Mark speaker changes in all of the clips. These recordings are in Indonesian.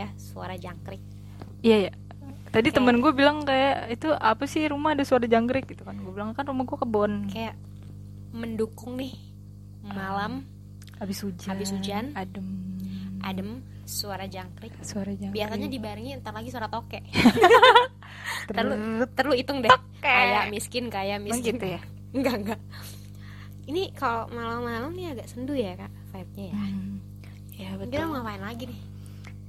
Speaker 1: ya?
Speaker 2: Iya ya. Tadi temen gue bilang kayak itu apa sih rumah ada suara jangkrik gitu kan. Gue bilang kan rumah gue kebon.
Speaker 1: kayak mendukung nih malam
Speaker 2: Habis hujan.
Speaker 1: Habis hujan.
Speaker 2: Adem.
Speaker 1: adem suara jangkrik
Speaker 2: Suara jangkrik.
Speaker 1: biasanya dibarengi ntar lagi suara toke ntar lu, ntar lu hitung deh kayak miskin kayak
Speaker 2: Emang
Speaker 1: miskin
Speaker 2: gitu ya.
Speaker 1: enggak enggak ini kalau malam-malam nih agak sendu ya kak vibe-nya ya
Speaker 2: Hmm. Ya
Speaker 1: kita
Speaker 2: betul.
Speaker 1: mau ngapain lagi nih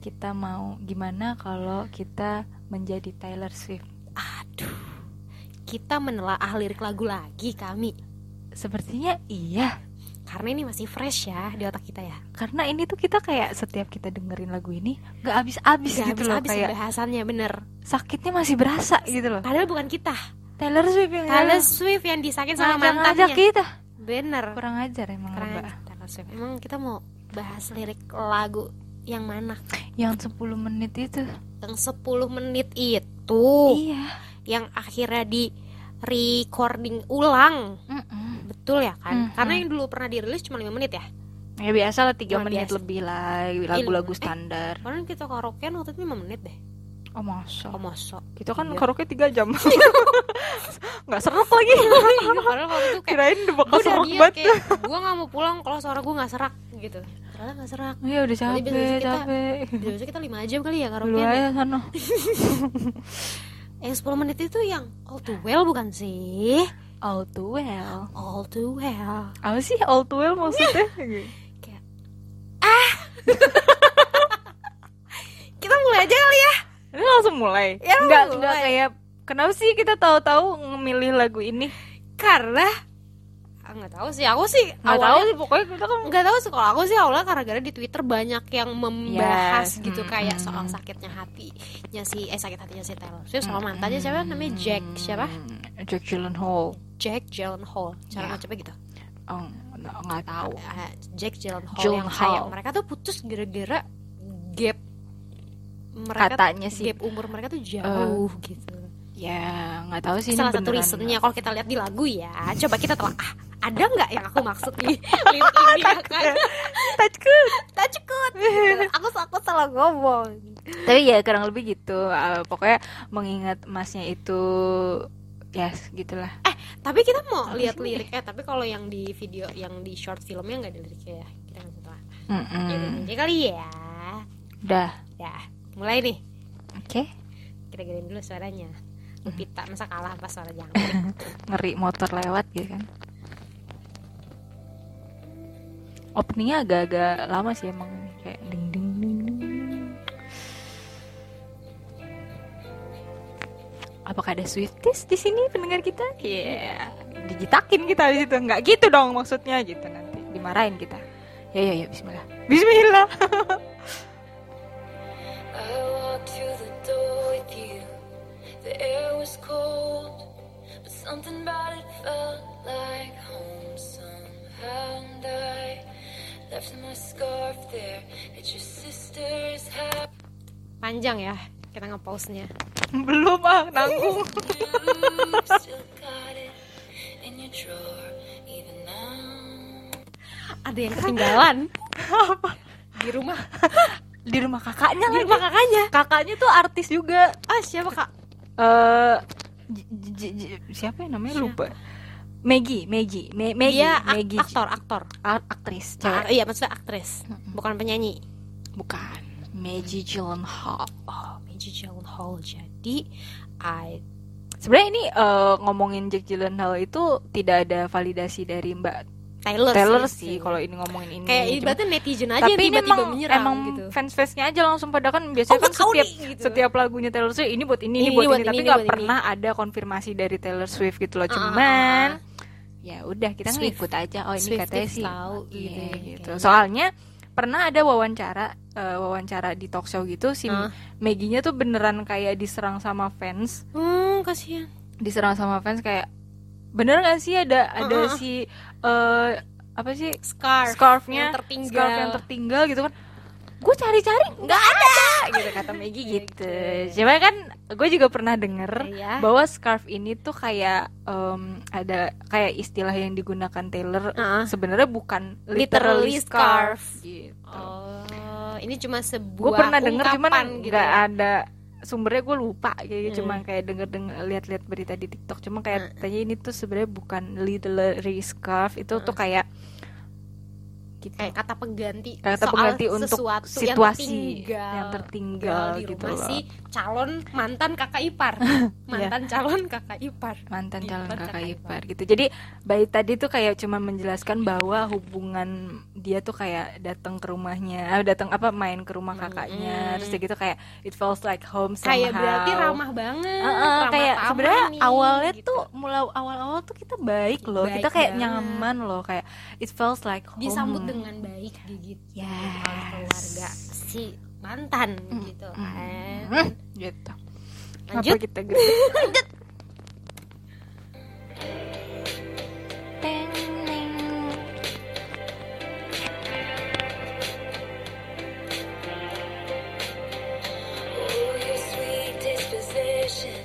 Speaker 2: Kita mau gimana kalau kita menjadi Taylor Swift?
Speaker 1: aduh kita menelaah lirik lagu lagi kami
Speaker 2: Sepertinya iya.
Speaker 1: karena ini masih fresh ya di otak kita ya
Speaker 2: Karena ini tuh kita kayak setiap kita dengerin lagu ini nggak habis-habis
Speaker 1: Gak
Speaker 2: gitu loh
Speaker 1: habis-habis
Speaker 2: kayak
Speaker 1: pembahasannya bener
Speaker 2: sakitnya masih berasa gitu loh.
Speaker 1: Padahal bukan kita
Speaker 2: Taylor Swift yang
Speaker 1: Taylor Swift yang disakit sama
Speaker 2: aja
Speaker 1: mantannya
Speaker 2: kita.
Speaker 1: Bener
Speaker 2: Kurang ajar emang
Speaker 1: Keren
Speaker 2: Mbak.
Speaker 1: Taylor Swift Emang kita mau bahas lirik lagu yang mana?
Speaker 2: Yang 10 menit itu.
Speaker 1: Yang 10 menit itu
Speaker 2: Iya.
Speaker 1: Yang akhirnya di recording ulang
Speaker 2: Mm-mm.
Speaker 1: Betul ya kan?
Speaker 2: Mhm.
Speaker 1: Karena yang dulu pernah dirilis cuma 5 menit ya
Speaker 2: Ya biasa lah 3
Speaker 1: Luar
Speaker 2: menit
Speaker 1: biasa.
Speaker 2: lebih lah lagu-lagu
Speaker 1: Eh.
Speaker 2: standar.
Speaker 1: Karena kita karaokean waktu itu 5 menit deh
Speaker 2: Oh masa. Iya.
Speaker 1: Oh mosok
Speaker 2: Kita kan
Speaker 1: Iya.
Speaker 2: karaoke 3 jam. Nggak seru lagi.
Speaker 1: Iya, Padahal waktu itu kayak
Speaker 2: Kirain udah bakal
Speaker 1: Gue udah
Speaker 2: seru
Speaker 1: diet
Speaker 2: Oh, banget.
Speaker 1: kayak Gue gak mau pulang kalau suara gue gak serak gitu Ternyata gak serak
Speaker 2: Iya udah
Speaker 1: Tapi biasanya
Speaker 2: capek,
Speaker 1: kita-
Speaker 2: capek.
Speaker 1: Jadi harusnya kita 5 jam kali ya
Speaker 2: Lu
Speaker 1: karaokean
Speaker 2: aja sana.
Speaker 1: Yang 10 menit itu yang all too well bukan sih?
Speaker 2: All too well.
Speaker 1: All too well.
Speaker 2: Apa sih all too well maksudnya?
Speaker 1: Kayak ah. Kita mulai aja kali ya.
Speaker 2: Ini langsung mulai.
Speaker 1: Ya,
Speaker 2: Nggak-
Speaker 1: mulai.
Speaker 2: nggak kayak kenapa sih kita tahu-tahu ngemilih lagu ini?
Speaker 1: Karena Ah, nggak tahu sih aku sih
Speaker 2: Nggak tahu
Speaker 1: awalnya
Speaker 2: sih pokoknya kita kan
Speaker 1: nggak tahu sih kalau aku sih awalnya karena gara di Twitter banyak yang membahas
Speaker 2: Yes.
Speaker 1: gitu
Speaker 2: Hmm,
Speaker 1: kayak
Speaker 2: hmm.
Speaker 1: soal sakitnya hatinya si eh sakit hatinya si Taylor Swift soal mantannya siapa namanya Jack siapa
Speaker 2: Hmm, Jack Gyllenhaal.
Speaker 1: Jack Gyllenhaal cara
Speaker 2: Ya.
Speaker 1: ngacapnya gitu
Speaker 2: Oh, nggak nggak tahu.
Speaker 1: Ah, Jack Gyllenhaal, yang
Speaker 2: Gyllenhaal.
Speaker 1: kayak mereka tuh putus gara-gara gap mereka
Speaker 2: Katanya sih.
Speaker 1: gap umur mereka tuh jauh gitu.
Speaker 2: Ya, nggak tahu sih ini
Speaker 1: Salah satu
Speaker 2: beneran.
Speaker 1: reasonnya kalau kita lihat di lagu ya, coba kita telah ah, ada nggak yang aku maksud di lirik ini ya kan?
Speaker 2: Takut.
Speaker 1: Tak cukup. gitu. Aku aku salah ngomong.
Speaker 2: Tapi ya kurang lebih gitu. Eh, pokoknya mengingat masnya itu ya gitulah.
Speaker 1: Tapi kita mau
Speaker 2: Apa
Speaker 1: lihat
Speaker 2: sih?
Speaker 1: liriknya, tapi kalau yang di video yang di short filmnya nggak ada liriknya ya. Kita nggak tahu. lah. Ya udah
Speaker 2: Mm-mm.
Speaker 1: aja kali ya.
Speaker 2: Udah.
Speaker 1: Ya, mulai nih.
Speaker 2: Oke.
Speaker 1: Kita gedein dulu suaranya.
Speaker 2: Hmm.
Speaker 1: Lupita masa kalah pas suara jangkrik.
Speaker 2: Ngeri motor lewat gitu kan. Openingnya agak-agak lama sih emang kayak ding ding ding. ding. Apakah ada Swifties di sini pendengar kita? Iya, digitakin kita di situ. Enggak gitu dong maksudnya gitu nanti dimarahin kita. Ya ya ya bismillah. Bismillah.
Speaker 3: I walked through the door with you. The air was cold, but something about it felt like home somehow. And I left my scarf there at your sister's house.
Speaker 1: Panjang ya kita nge-pause-nya
Speaker 2: Belum ah, nanggung.
Speaker 3: Still got it in your drawer, even now.
Speaker 1: Ada yang ketinggalan Di rumah
Speaker 2: Di rumah kakaknya
Speaker 1: Di
Speaker 2: lagi.
Speaker 1: rumah kakaknya
Speaker 2: Kakaknya tuh artis juga.
Speaker 1: Ah siapa kak?
Speaker 2: eh J- J- J- siapa yang namanya lupa Maggie Maggie Me- Maggie
Speaker 1: Dia Iya, ak-
Speaker 2: Maggie
Speaker 1: aktor, aktor
Speaker 2: A- aktris
Speaker 1: Ah,
Speaker 2: cewek
Speaker 1: Iya maksudnya aktris Bukan penyanyi
Speaker 2: bukan Maggie Gyllenhaal
Speaker 1: Oh Maggie Gyllenhaal Jadi I
Speaker 2: sebenarnya ini eh, ngomongin Jack Gyllenhaal itu tidak ada validasi dari Mbak
Speaker 1: Taylor,
Speaker 2: Taylor sih kalau ini ngomongin ini
Speaker 1: Kayak
Speaker 2: Cuma-
Speaker 1: ibaratnya netizen aja
Speaker 2: tapi
Speaker 1: yang
Speaker 2: ini
Speaker 1: tiba-tiba
Speaker 2: emang,
Speaker 1: menyerang
Speaker 2: emang
Speaker 1: gitu
Speaker 2: fans-fansnya aja langsung pada kan biasanya
Speaker 1: Oh,
Speaker 2: kan
Speaker 1: tahu nih,
Speaker 2: setiap
Speaker 1: gitu.
Speaker 2: setiap lagunya Taylor Swift ini buat ini,
Speaker 1: Ini
Speaker 2: buat
Speaker 1: buat
Speaker 2: ini,
Speaker 1: ini,
Speaker 2: tapi
Speaker 1: ini
Speaker 2: nggak
Speaker 1: buat ini.
Speaker 2: pernah ada konfirmasi dari Taylor Swift gitu loh
Speaker 1: Ah,
Speaker 2: cuman
Speaker 1: ah,
Speaker 2: ya udah kita
Speaker 1: Swift.
Speaker 2: ngikut aja oh ini
Speaker 1: Swifties
Speaker 2: katanya sih
Speaker 1: tahu gitu
Speaker 2: Iya,
Speaker 1: ya,
Speaker 2: gitu.
Speaker 1: kayaknya.
Speaker 2: Soalnya pernah ada wawancara eh, wawancara di talk show gitu si
Speaker 1: Ah.
Speaker 2: Maggie-nya tuh beneran kayak diserang sama fans,
Speaker 1: Hmm kasihan
Speaker 2: diserang sama fans kayak bener gak sih ada ada
Speaker 1: Ah, ah, ah.
Speaker 2: si eh, apa sih
Speaker 1: Scarf
Speaker 2: scarfnya
Speaker 1: yang tertinggal
Speaker 2: scarf yang tertinggal gitu kan gue cari-cari nggak ada gitu kata Maggie gitu cuma kan gue juga pernah denger
Speaker 1: Iya.
Speaker 2: bahwa scarf ini tuh kayak em, ada kayak istilah yang digunakan Taylor
Speaker 1: Ah.
Speaker 2: sebenarnya bukan
Speaker 1: Literally
Speaker 2: literally scarf,
Speaker 1: scarf.
Speaker 2: gitu
Speaker 1: Oh ini cuma sebuah
Speaker 2: gue pernah denger cuman
Speaker 1: ungkapan gitu
Speaker 2: nggak
Speaker 1: ya.
Speaker 2: ada sumbernya gue lupa kayak
Speaker 1: Hmm.
Speaker 2: cuma kayak denger denger lihat-lihat berita di TikTok cuma kayak katanya ini tuh sebenarnya bukan literary scarf itu
Speaker 1: Hmm.
Speaker 2: tuh kayak gitu
Speaker 1: kayak kata pengganti
Speaker 2: kata
Speaker 1: soal
Speaker 2: pengganti untuk
Speaker 1: sesuatu
Speaker 2: situasi
Speaker 1: yang tertinggal,
Speaker 2: yang tertinggal,
Speaker 1: di
Speaker 2: gitu
Speaker 1: rumah
Speaker 2: loh Iya.
Speaker 1: si calon mantan kakak ipar mantan calon kakak ipar
Speaker 2: mantan
Speaker 1: Di
Speaker 2: calon
Speaker 1: depan
Speaker 2: kakak
Speaker 1: kakak
Speaker 2: ipar gitu jadi bayi tadi tuh kayak cuma menjelaskan bahwa hubungan dia tuh kayak datang ke rumahnya eh, datang apa main ke rumah kakaknya
Speaker 1: Mm-mm.
Speaker 2: terus dia gitu kayak it feels like home somehow
Speaker 1: kayak berarti ramah banget
Speaker 2: Heeh,
Speaker 1: ramah
Speaker 2: kayak
Speaker 1: tamah
Speaker 2: sebenarnya
Speaker 1: nih,
Speaker 2: awalnya
Speaker 1: gitu.
Speaker 2: tuh mulai awal-awal tuh kita baik loh
Speaker 1: Baik
Speaker 2: kita kayak
Speaker 1: banget.
Speaker 2: nyaman loh kayak it feels like home
Speaker 1: disambut dengan baik gitu
Speaker 2: Yes.
Speaker 1: oleh keluarga si mantan gitu kan
Speaker 2: Hmm, gitu
Speaker 1: Lanjut.
Speaker 2: Mm, Apa kita gitu
Speaker 1: lanjut
Speaker 2: Teng, neng.
Speaker 3: Oh, your sweet disposition and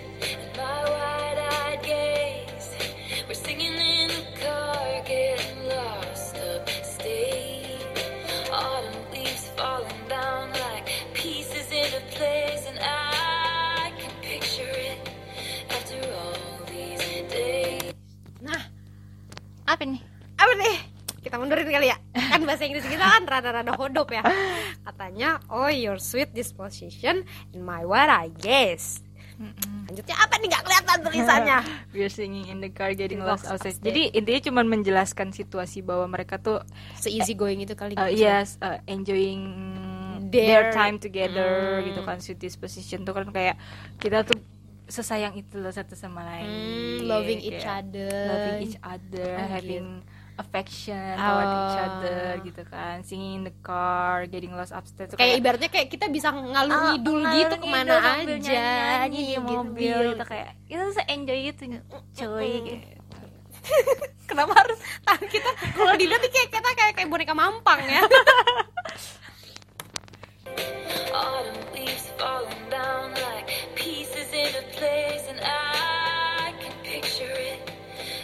Speaker 3: my wide-eyed gaze. We're singing in the car, getting lost upstate. Autumn leaves falling down like pieces into place, and I can picture it after all these days.
Speaker 1: nah
Speaker 2: apa nih
Speaker 1: apa nih kita mundurin kali ya kan bahasa Inggris kita kan rada-rada hodop ya katanya oh your sweet disposition in my what I guess lanjutnya apa nih nggak kelihatan tulisannya
Speaker 2: We're singing in the car getting
Speaker 1: Lost
Speaker 2: lost outside.
Speaker 1: outside.
Speaker 2: Jadi intinya cuma menjelaskan situasi bahwa mereka tuh
Speaker 1: se easy going itu kali
Speaker 2: uh,
Speaker 1: Iya
Speaker 2: yes uh, enjoying their,
Speaker 1: Their-
Speaker 2: time together
Speaker 1: Hmm.
Speaker 2: gitu kan sweet disposition tuh kan kayak kita tuh sesayang itu loh satu sama lain.
Speaker 1: Hmm, loving
Speaker 2: Kayak
Speaker 1: each other
Speaker 2: Loving each other,
Speaker 1: Oh,
Speaker 2: having affection toward each
Speaker 1: Oh.
Speaker 2: other gitu kan. Singing in the car, getting lost upstairs tuh
Speaker 1: kayak ibaratnya kayak kita bisa Gitu, ngalur
Speaker 2: Ah,
Speaker 1: ngidul
Speaker 2: ngalur
Speaker 1: gitu
Speaker 2: ngidul
Speaker 1: kemana
Speaker 2: sambil
Speaker 1: aja
Speaker 2: nyanyi-nyanyi di
Speaker 1: gitu. Iya.
Speaker 2: mobil gitu kayak itu se enjoy itu cuy gitu.
Speaker 1: kenapa harus tangan kita kalau dilihat nih kayak kita kayak kayak boneka mampang ya
Speaker 3: Autumn leaves falling down like pieces into place, and I can picture it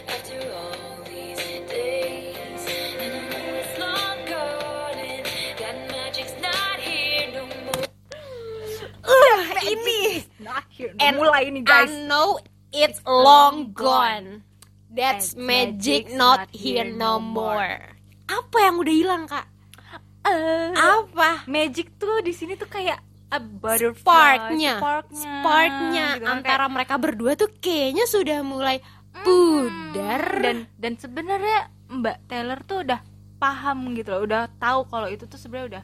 Speaker 3: after all these days. And I know it's long gone, and that magic's not here no more.
Speaker 1: udah Iya, ini And
Speaker 2: mulai nih
Speaker 1: I know it's long gone. That's
Speaker 2: And
Speaker 1: magic not here no more. Apa yang udah hilang kak? Apa?
Speaker 2: uh, magic tuh di sini tuh kayak a butterfly
Speaker 1: Sparknya,
Speaker 2: sparknya,
Speaker 1: sparknya
Speaker 2: gitu kan,
Speaker 1: antara mereka berdua tuh kayaknya sudah mulai
Speaker 2: kayak,
Speaker 1: pudar
Speaker 2: "Mm." dan dan sebenarnya Mbak Taylor tuh udah paham gitu loh udah tahu kalau itu tuh sebenarnya udah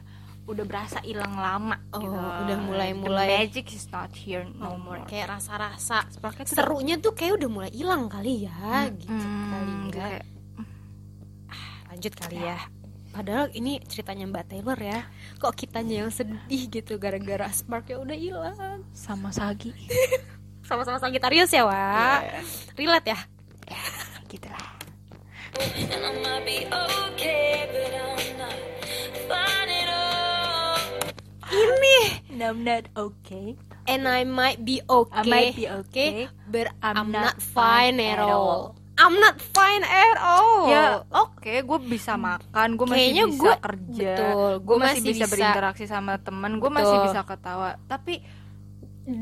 Speaker 2: udah berasa hilang lama
Speaker 1: Oh,
Speaker 2: gitu.
Speaker 1: udah mulai-mulai. Oh,
Speaker 2: The magic is not here no more
Speaker 1: kayak rasa-rasa
Speaker 2: Sparknya tuh
Speaker 1: serunya tuh kayak udah mulai hilang kali ya, gitu kali ya.
Speaker 2: Hmm, kayak-
Speaker 1: Lanjut kali ya. Padahal ini ceritanya Mbak Taylor ya. Kok kitanya yang sedih gitu gara-gara sparknya udah hilang.
Speaker 2: sama Sagi
Speaker 1: sama-sama Sagitarius ya, Wak.
Speaker 2: Iya,
Speaker 1: Relate ya.
Speaker 2: gitu lah
Speaker 3: And I might be okay, but I'm not fine at all.
Speaker 1: Ini
Speaker 2: no, I'm not okay
Speaker 1: and I might be okay.
Speaker 2: I might be okay,
Speaker 1: but I'm,
Speaker 2: I'm
Speaker 1: not,
Speaker 2: not
Speaker 1: fine,
Speaker 2: fine
Speaker 1: at
Speaker 2: at
Speaker 1: all. I'm not fine at all.
Speaker 2: ya oke gue bisa makan gue masih
Speaker 1: Oh. Kayaknya
Speaker 2: bisa
Speaker 1: gua-
Speaker 2: kerja
Speaker 1: betul, gua
Speaker 2: gue masih,
Speaker 1: masih
Speaker 2: bisa
Speaker 1: bisa-
Speaker 2: berinteraksi sama teman gue masih
Speaker 1: Betul.
Speaker 2: bisa ketawa tapi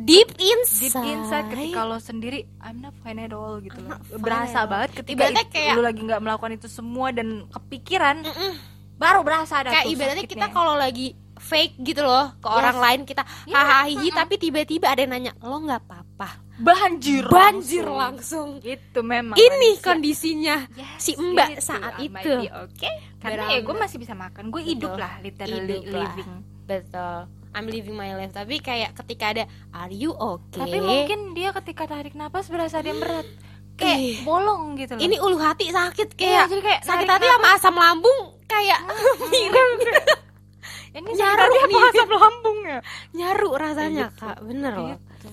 Speaker 1: deep inside.
Speaker 2: deep inside ketika lo sendiri I'm not fine at all gitu loh
Speaker 1: not fine at
Speaker 2: berasa
Speaker 1: all.
Speaker 2: banget ketika
Speaker 1: Ibaratnya
Speaker 2: itu-
Speaker 1: kayak-
Speaker 2: lo lagi nggak melakukan itu semua dan kepikiran
Speaker 1: Mm-mm.
Speaker 2: baru berasa ada
Speaker 1: kayak
Speaker 2: tuh
Speaker 1: ibaratnya kita
Speaker 2: sakitnya.
Speaker 1: kalau lagi fake gitu loh ke orang lain kita
Speaker 2: Ya,
Speaker 1: hahaha tapi tiba-tiba ada yang nanya lo nggak apa-apa
Speaker 2: banjir
Speaker 1: banjir
Speaker 2: langsung.
Speaker 1: langsung
Speaker 2: gitu memang
Speaker 1: ini
Speaker 2: manusia.
Speaker 1: kondisinya
Speaker 2: Yes,
Speaker 1: si mbak
Speaker 2: gitu.
Speaker 1: saat
Speaker 2: I might
Speaker 1: itu
Speaker 2: be okay karena ya gue masih bisa makan gue
Speaker 1: Betul.
Speaker 2: hidup lah literally
Speaker 1: Hidup lah.
Speaker 2: living
Speaker 1: Betul. I'm living my life. Tapi kayak ketika ada Are you okay?
Speaker 2: Tapi mungkin dia ketika tarik napas berasa dia berat. Kayak
Speaker 1: Ih.
Speaker 2: bolong gitu loh.
Speaker 1: ini ulu hati sakit kayak,
Speaker 2: Iya,
Speaker 1: Ah.
Speaker 2: jadi kayak
Speaker 1: sakit
Speaker 2: narik
Speaker 1: hati sama asam lambung kayak mirip
Speaker 2: ini
Speaker 1: nyaru
Speaker 2: sebenarnya apa
Speaker 1: nih.
Speaker 2: asap lambung ya?
Speaker 1: nyaru rasanya
Speaker 2: Iya,
Speaker 1: kak bener loh
Speaker 2: Gitu.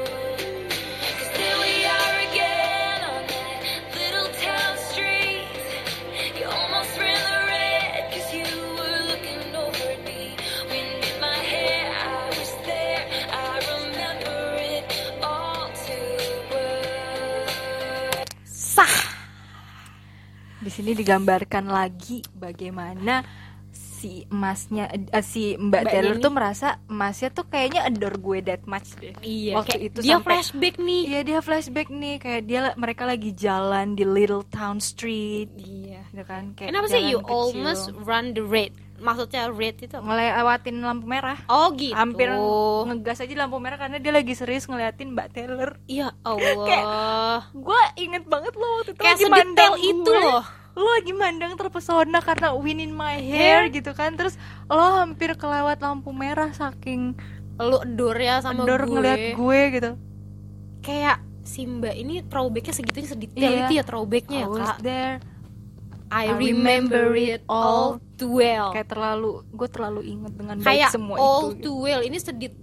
Speaker 3: Cause there we are again on that little town street. You almost ran the red cause you were looking over at me. Wind in my hair, I was there. I remember it all too well.
Speaker 1: sah
Speaker 2: Di sini digambarkan lagi bagaimana si emasnya eh, si Mbak
Speaker 1: Mbaknya
Speaker 2: Taylor
Speaker 1: nih.
Speaker 2: tuh merasa emasnya tuh kayaknya adore gue that much deh.
Speaker 1: Iya,
Speaker 2: Waktu
Speaker 1: kayak
Speaker 2: itu
Speaker 1: dia
Speaker 2: sampai-
Speaker 1: flashback nih.
Speaker 2: Iya dia flashback nih kayak dia mereka lagi jalan di little town street
Speaker 1: Iya.
Speaker 2: gitu kan kayak
Speaker 1: Kenapa sih
Speaker 2: jalan
Speaker 1: you
Speaker 2: kecil.
Speaker 1: almost run the red? Maksudnya red itu apa?
Speaker 2: ngelewatin lampu merah
Speaker 1: Oh gitu.
Speaker 2: hampir ngegas aja di lampu merah karena dia lagi serius ngeliatin Mbak Taylor
Speaker 1: Ya Allah.
Speaker 2: gue inget banget lo waktu itu
Speaker 1: Kayak
Speaker 2: lagi
Speaker 1: sedetail
Speaker 2: mandang
Speaker 1: itu
Speaker 2: gue.
Speaker 1: loh.
Speaker 2: lo lagi mandang terpesona karena win in my hair
Speaker 1: Iya.
Speaker 2: gitu kan terus lo hampir kelewat lampu merah saking
Speaker 1: Lu endor ya sama
Speaker 2: kendor
Speaker 1: gue.
Speaker 2: ngeliat gue gitu
Speaker 1: Kayak Simba ini throwbacknya segitunya sedetail
Speaker 2: Iya.
Speaker 1: itu ya throwbacknya
Speaker 2: I
Speaker 1: ya
Speaker 2: was
Speaker 1: kak.
Speaker 2: there
Speaker 1: I
Speaker 2: I
Speaker 1: remember
Speaker 2: remember
Speaker 1: it
Speaker 2: it
Speaker 1: all too well.
Speaker 2: kayak terlalu gue terlalu inget dengan
Speaker 1: Oh.
Speaker 2: baik
Speaker 1: Kayak
Speaker 2: semua
Speaker 1: all
Speaker 2: itu gitu.
Speaker 1: too well ini sedit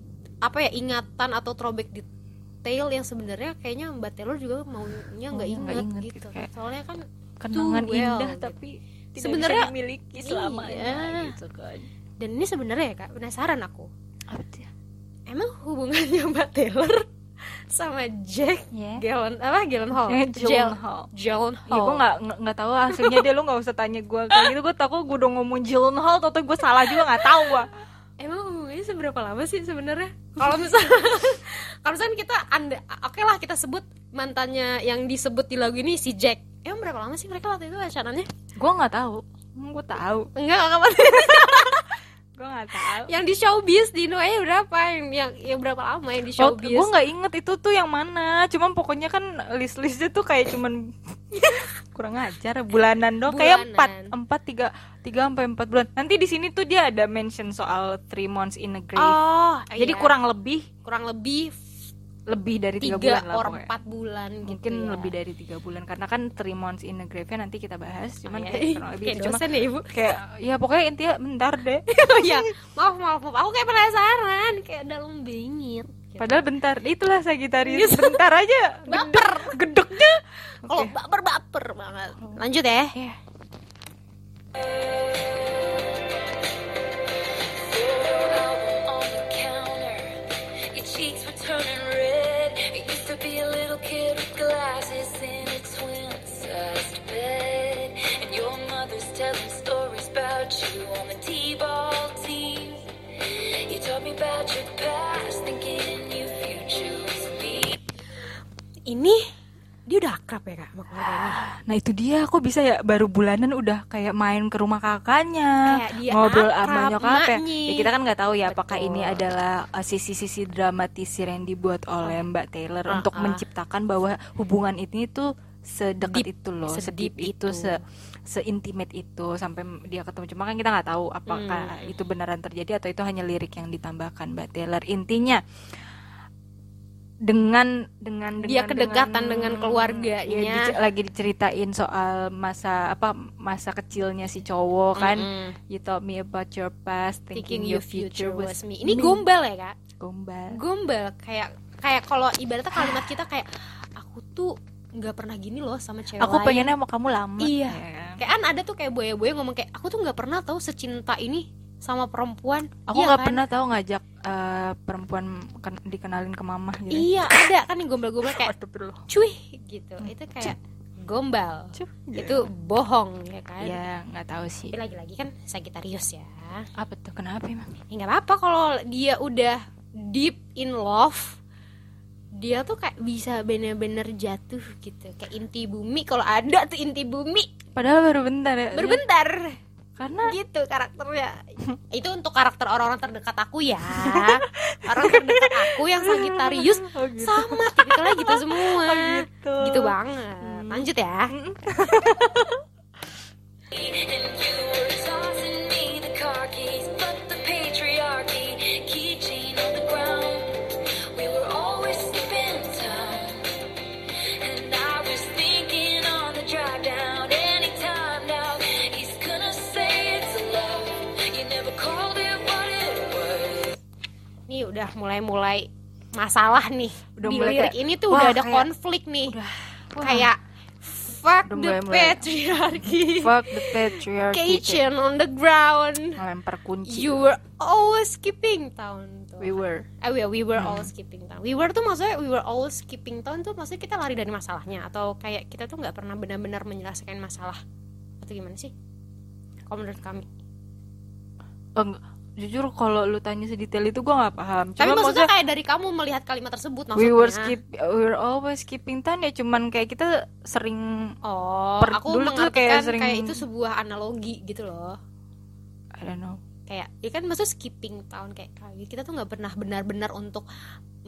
Speaker 1: apa ya ingatan atau throwback detail yang sebenarnya kayaknya Mbak Taylor juga maunya nggak
Speaker 2: Maunya
Speaker 1: ingat,
Speaker 2: Oh, nggak inget
Speaker 1: gitu.
Speaker 2: gitu, kayak-
Speaker 1: Soalnya kan
Speaker 2: kenangan
Speaker 1: too well,
Speaker 2: indah
Speaker 1: gitu.
Speaker 2: tapi tidak
Speaker 1: Sebenarnya-
Speaker 2: bisa dimiliki selamanya
Speaker 1: Iya.
Speaker 2: gitu kan
Speaker 1: dan ini sebenarnya ya kak penasaran aku.
Speaker 2: Apa dia?
Speaker 1: Emang hubungannya Mbak Taylor sama Jack
Speaker 2: ya
Speaker 1: Galen apa Galen Hall?
Speaker 2: Eh, Gyllenhaal.
Speaker 1: Iya,
Speaker 2: Ya, gue gak, nggak nggak tahu hasilnya dia lu gak usah tanya gue kayak gitu Gue takut gue udah ngomong Gyllenhaal Tau gue salah juga gak tahu gue
Speaker 1: Emang hubungannya seberapa lama sih sebenarnya? Kalau misalnya kalau misalnya kita anda, oke lah kita sebut mantannya yang disebut di lagu ini si Jack. Emang berapa lama sih mereka waktu itu pacarannya?
Speaker 2: Gue gak tahu Gue Hmm, tahu
Speaker 1: Enggak, enggak apa-apa.
Speaker 2: Gue gak tahu
Speaker 1: Yang di showbiz di Noe ya berapa? Yang, yang yang berapa lama yang di
Speaker 2: Oh,
Speaker 1: showbiz?
Speaker 2: gue nggak inget itu tuh yang mana Cuman pokoknya kan list-listnya tuh kayak cuman kurang ajar bulanan dong kayak empat
Speaker 1: Bulanan.
Speaker 2: empat tiga tiga sampai empat bulan nanti di sini tuh dia ada mention soal three months in a grave
Speaker 1: Oh, iya.
Speaker 2: jadi kurang lebih
Speaker 1: kurang lebih
Speaker 2: lebih dari tiga, bulan
Speaker 1: tiga
Speaker 2: lah
Speaker 1: or
Speaker 2: pokoknya.
Speaker 1: empat bulan gitu
Speaker 2: mungkin
Speaker 1: ya.
Speaker 2: lebih dari tiga bulan karena kan three months in a grave nanti kita bahas cuman
Speaker 1: Iya.
Speaker 2: kayak kurang lebih
Speaker 1: kayak
Speaker 2: itu. cuma
Speaker 1: dosen ya ibu
Speaker 2: kayak ya pokoknya intinya bentar deh
Speaker 1: oh iya maaf maaf maaf aku kayak penasaran kayak dalam bingit
Speaker 2: padahal bentar itulah Sagitarius bentar aja
Speaker 1: Iya, baper
Speaker 2: gedeknya
Speaker 1: kalau baper baper Oh, banget lanjut ya
Speaker 2: Iya.
Speaker 3: album on the counter. Your cheeks were turning red. You used to be a little kid with glasses in a twin-sized bed. And your mother's telling stories about you on the T-ball team. You taught me about your past, thinking you futures me.
Speaker 1: ini dia udah akrab ya kak sama keluarganya
Speaker 2: nah itu dia aku bisa ya baru bulanan udah kayak main ke rumah kakaknya
Speaker 1: Kayak dia
Speaker 2: ngobrol
Speaker 1: akrab,
Speaker 2: sama nyokap ya.
Speaker 1: emaknya.
Speaker 2: Ya, kita kan nggak tahu ya apakah
Speaker 1: Betul.
Speaker 2: ini adalah uh, sisi-sisi dramatisir yang dibuat oleh Mbak Taylor
Speaker 1: Ah,
Speaker 2: untuk
Speaker 1: ah.
Speaker 2: menciptakan bahwa hubungan ini tuh sedekat
Speaker 1: Deep,
Speaker 2: itu loh
Speaker 1: sedeep
Speaker 2: sedip itu,
Speaker 1: itu.
Speaker 2: se seintimate itu sampai dia ketemu cuma kan kita nggak tahu apakah
Speaker 1: Hmm.
Speaker 2: itu beneran terjadi atau itu hanya lirik yang ditambahkan Mbak Taylor intinya dengan dengan
Speaker 1: Dia
Speaker 2: dengan-
Speaker 1: kedekatan dengan keluarganya.
Speaker 2: Iya, dice- lagi diceritain soal masa apa masa kecilnya si cowok kan
Speaker 1: Mm-mm.
Speaker 2: you taught me about your past
Speaker 1: Oh, thinking
Speaker 2: thinking,
Speaker 1: your future was me ini
Speaker 2: gom
Speaker 1: gombal ya kak
Speaker 2: gombal
Speaker 1: gombal kayak kayak kalau ibaratnya kalimat kita kayak aku tuh nggak pernah gini loh sama cewek
Speaker 2: aku
Speaker 1: lain."
Speaker 2: pengennya sama kamu lama
Speaker 1: ya. Iya.
Speaker 2: ya kan?
Speaker 1: kayak kan ada tuh kayak boya-boya ngomong kayak aku tuh nggak pernah tahu secinta ini sama perempuan Iya
Speaker 2: aku nggak
Speaker 1: kan?
Speaker 2: pernah tahu ngajak eh, perempuan ken- dikenalin ke mama gitu
Speaker 1: iya ada kan yang gombal-gombal kayak
Speaker 2: Astagfirullah.
Speaker 1: cuy gitu itu kayak gombal
Speaker 2: Cuh,
Speaker 1: itu bohong ya kan
Speaker 2: ya nggak tahu sih
Speaker 1: tapi lagi-lagi kan Sagitarius ya
Speaker 2: apa tuh kenapa emang
Speaker 1: ya nggak apa-apa kalau dia udah deep in love dia tuh kayak bisa bener-bener jatuh gitu kayak inti bumi kalau ada tuh inti bumi
Speaker 2: padahal baru bentar ya
Speaker 1: berbentar
Speaker 2: karena
Speaker 1: gitu karakternya itu untuk karakter orang-orang terdekat aku ya orang terdekat aku yang Sagitarius
Speaker 2: Oh, gitu.
Speaker 1: sama tipikalnya gitu semua
Speaker 2: Oh, gitu. Hmm.
Speaker 1: banget lanjut ya
Speaker 3: And you were tossing me the car keys, but the patriarchy keychain on the ground. We were always skipping town, and I was thinking on the drive down. Anytime now, he's gonna say it's love. You never called it what it was.
Speaker 1: nih udah mulai-mulai masalah nih
Speaker 2: Udah
Speaker 1: di
Speaker 2: mulai
Speaker 1: lirik
Speaker 2: kayak,
Speaker 1: ini tuh udah
Speaker 2: wah,
Speaker 1: ada
Speaker 2: kayak-
Speaker 1: konflik nih
Speaker 2: udah wah,
Speaker 1: kayak fuck
Speaker 2: Udah
Speaker 1: the
Speaker 2: mulai-mulai.
Speaker 1: patriarchy
Speaker 2: fuck the patriarchy kayak
Speaker 1: kitchen on the ground
Speaker 2: ngelempar kunci
Speaker 1: you were always skipping town tuh
Speaker 2: we were
Speaker 1: Eh, we, we were
Speaker 2: Hmm.
Speaker 1: all skipping town. We were tuh maksudnya we were all skipping town tuh maksudnya kita lari dari masalahnya atau kayak kita tuh nggak pernah benar-benar menyelesaikan masalah atau gimana sih? Kalau menurut kami
Speaker 2: Oh, enggak. jujur kalau lu tanya sedetail itu gua nggak paham.
Speaker 1: Tapi
Speaker 2: Cuma
Speaker 1: maksudnya kayak dari kamu melihat kalimat tersebut maksudnya.
Speaker 2: we were skip we were always skipping time ya cuman kayak kita sering
Speaker 1: Oh,
Speaker 2: Per-
Speaker 1: aku
Speaker 2: dulu tuh kayak
Speaker 1: mengartikan kayak,
Speaker 2: sering-
Speaker 1: itu sebuah analogi gitu loh.
Speaker 2: I don't know.
Speaker 1: Kayak ya kan maksudnya skipping tahun kayak kayak kita tuh nggak pernah benar-benar untuk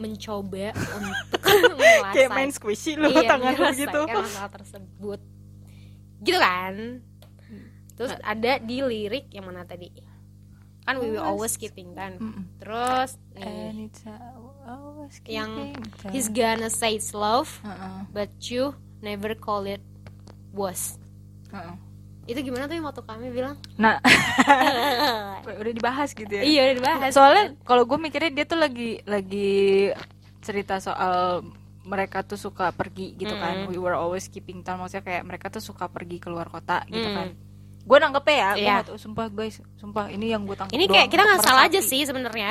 Speaker 1: mencoba untuk merasakan
Speaker 2: Kayak main squishy lu
Speaker 1: iya,
Speaker 2: tangan lu
Speaker 1: menyelesaikan
Speaker 2: gitu.
Speaker 1: masalah tersebut. Gitu kan? Terus
Speaker 2: Nah.
Speaker 1: ada di lirik yang mana tadi? Kan we will always skipping time.
Speaker 2: Mm-mm.
Speaker 1: Terus nih,
Speaker 2: And it's uh, always skipping
Speaker 1: Iya.
Speaker 2: Uh-uh,
Speaker 1: Yang
Speaker 2: time.
Speaker 1: he's gonna say it's love,
Speaker 2: Heeh,
Speaker 1: but you never call it was.
Speaker 2: heeh.
Speaker 1: Itu gimana tuh yang waktu kami bilang?
Speaker 2: uh-uh. Nah, udah dibahas gitu ya.
Speaker 1: Iya udah dibahas.
Speaker 2: Soalnya kalau gue mikirnya dia tuh lagi lagi cerita soal mereka tuh suka pergi gitu kan. We were always keeping time maksudnya kayak mereka tuh suka pergi keluar kota gitu
Speaker 1: Mm.
Speaker 2: kan. Gue nangkepnya ya, gue
Speaker 1: Iya.
Speaker 2: nggak tahu, sumpah guys, sumpah ini yang gue tangkep.
Speaker 1: ini kayak
Speaker 2: doang,
Speaker 1: kita nggak salah aja
Speaker 2: meresapi.
Speaker 1: sih sebenarnya.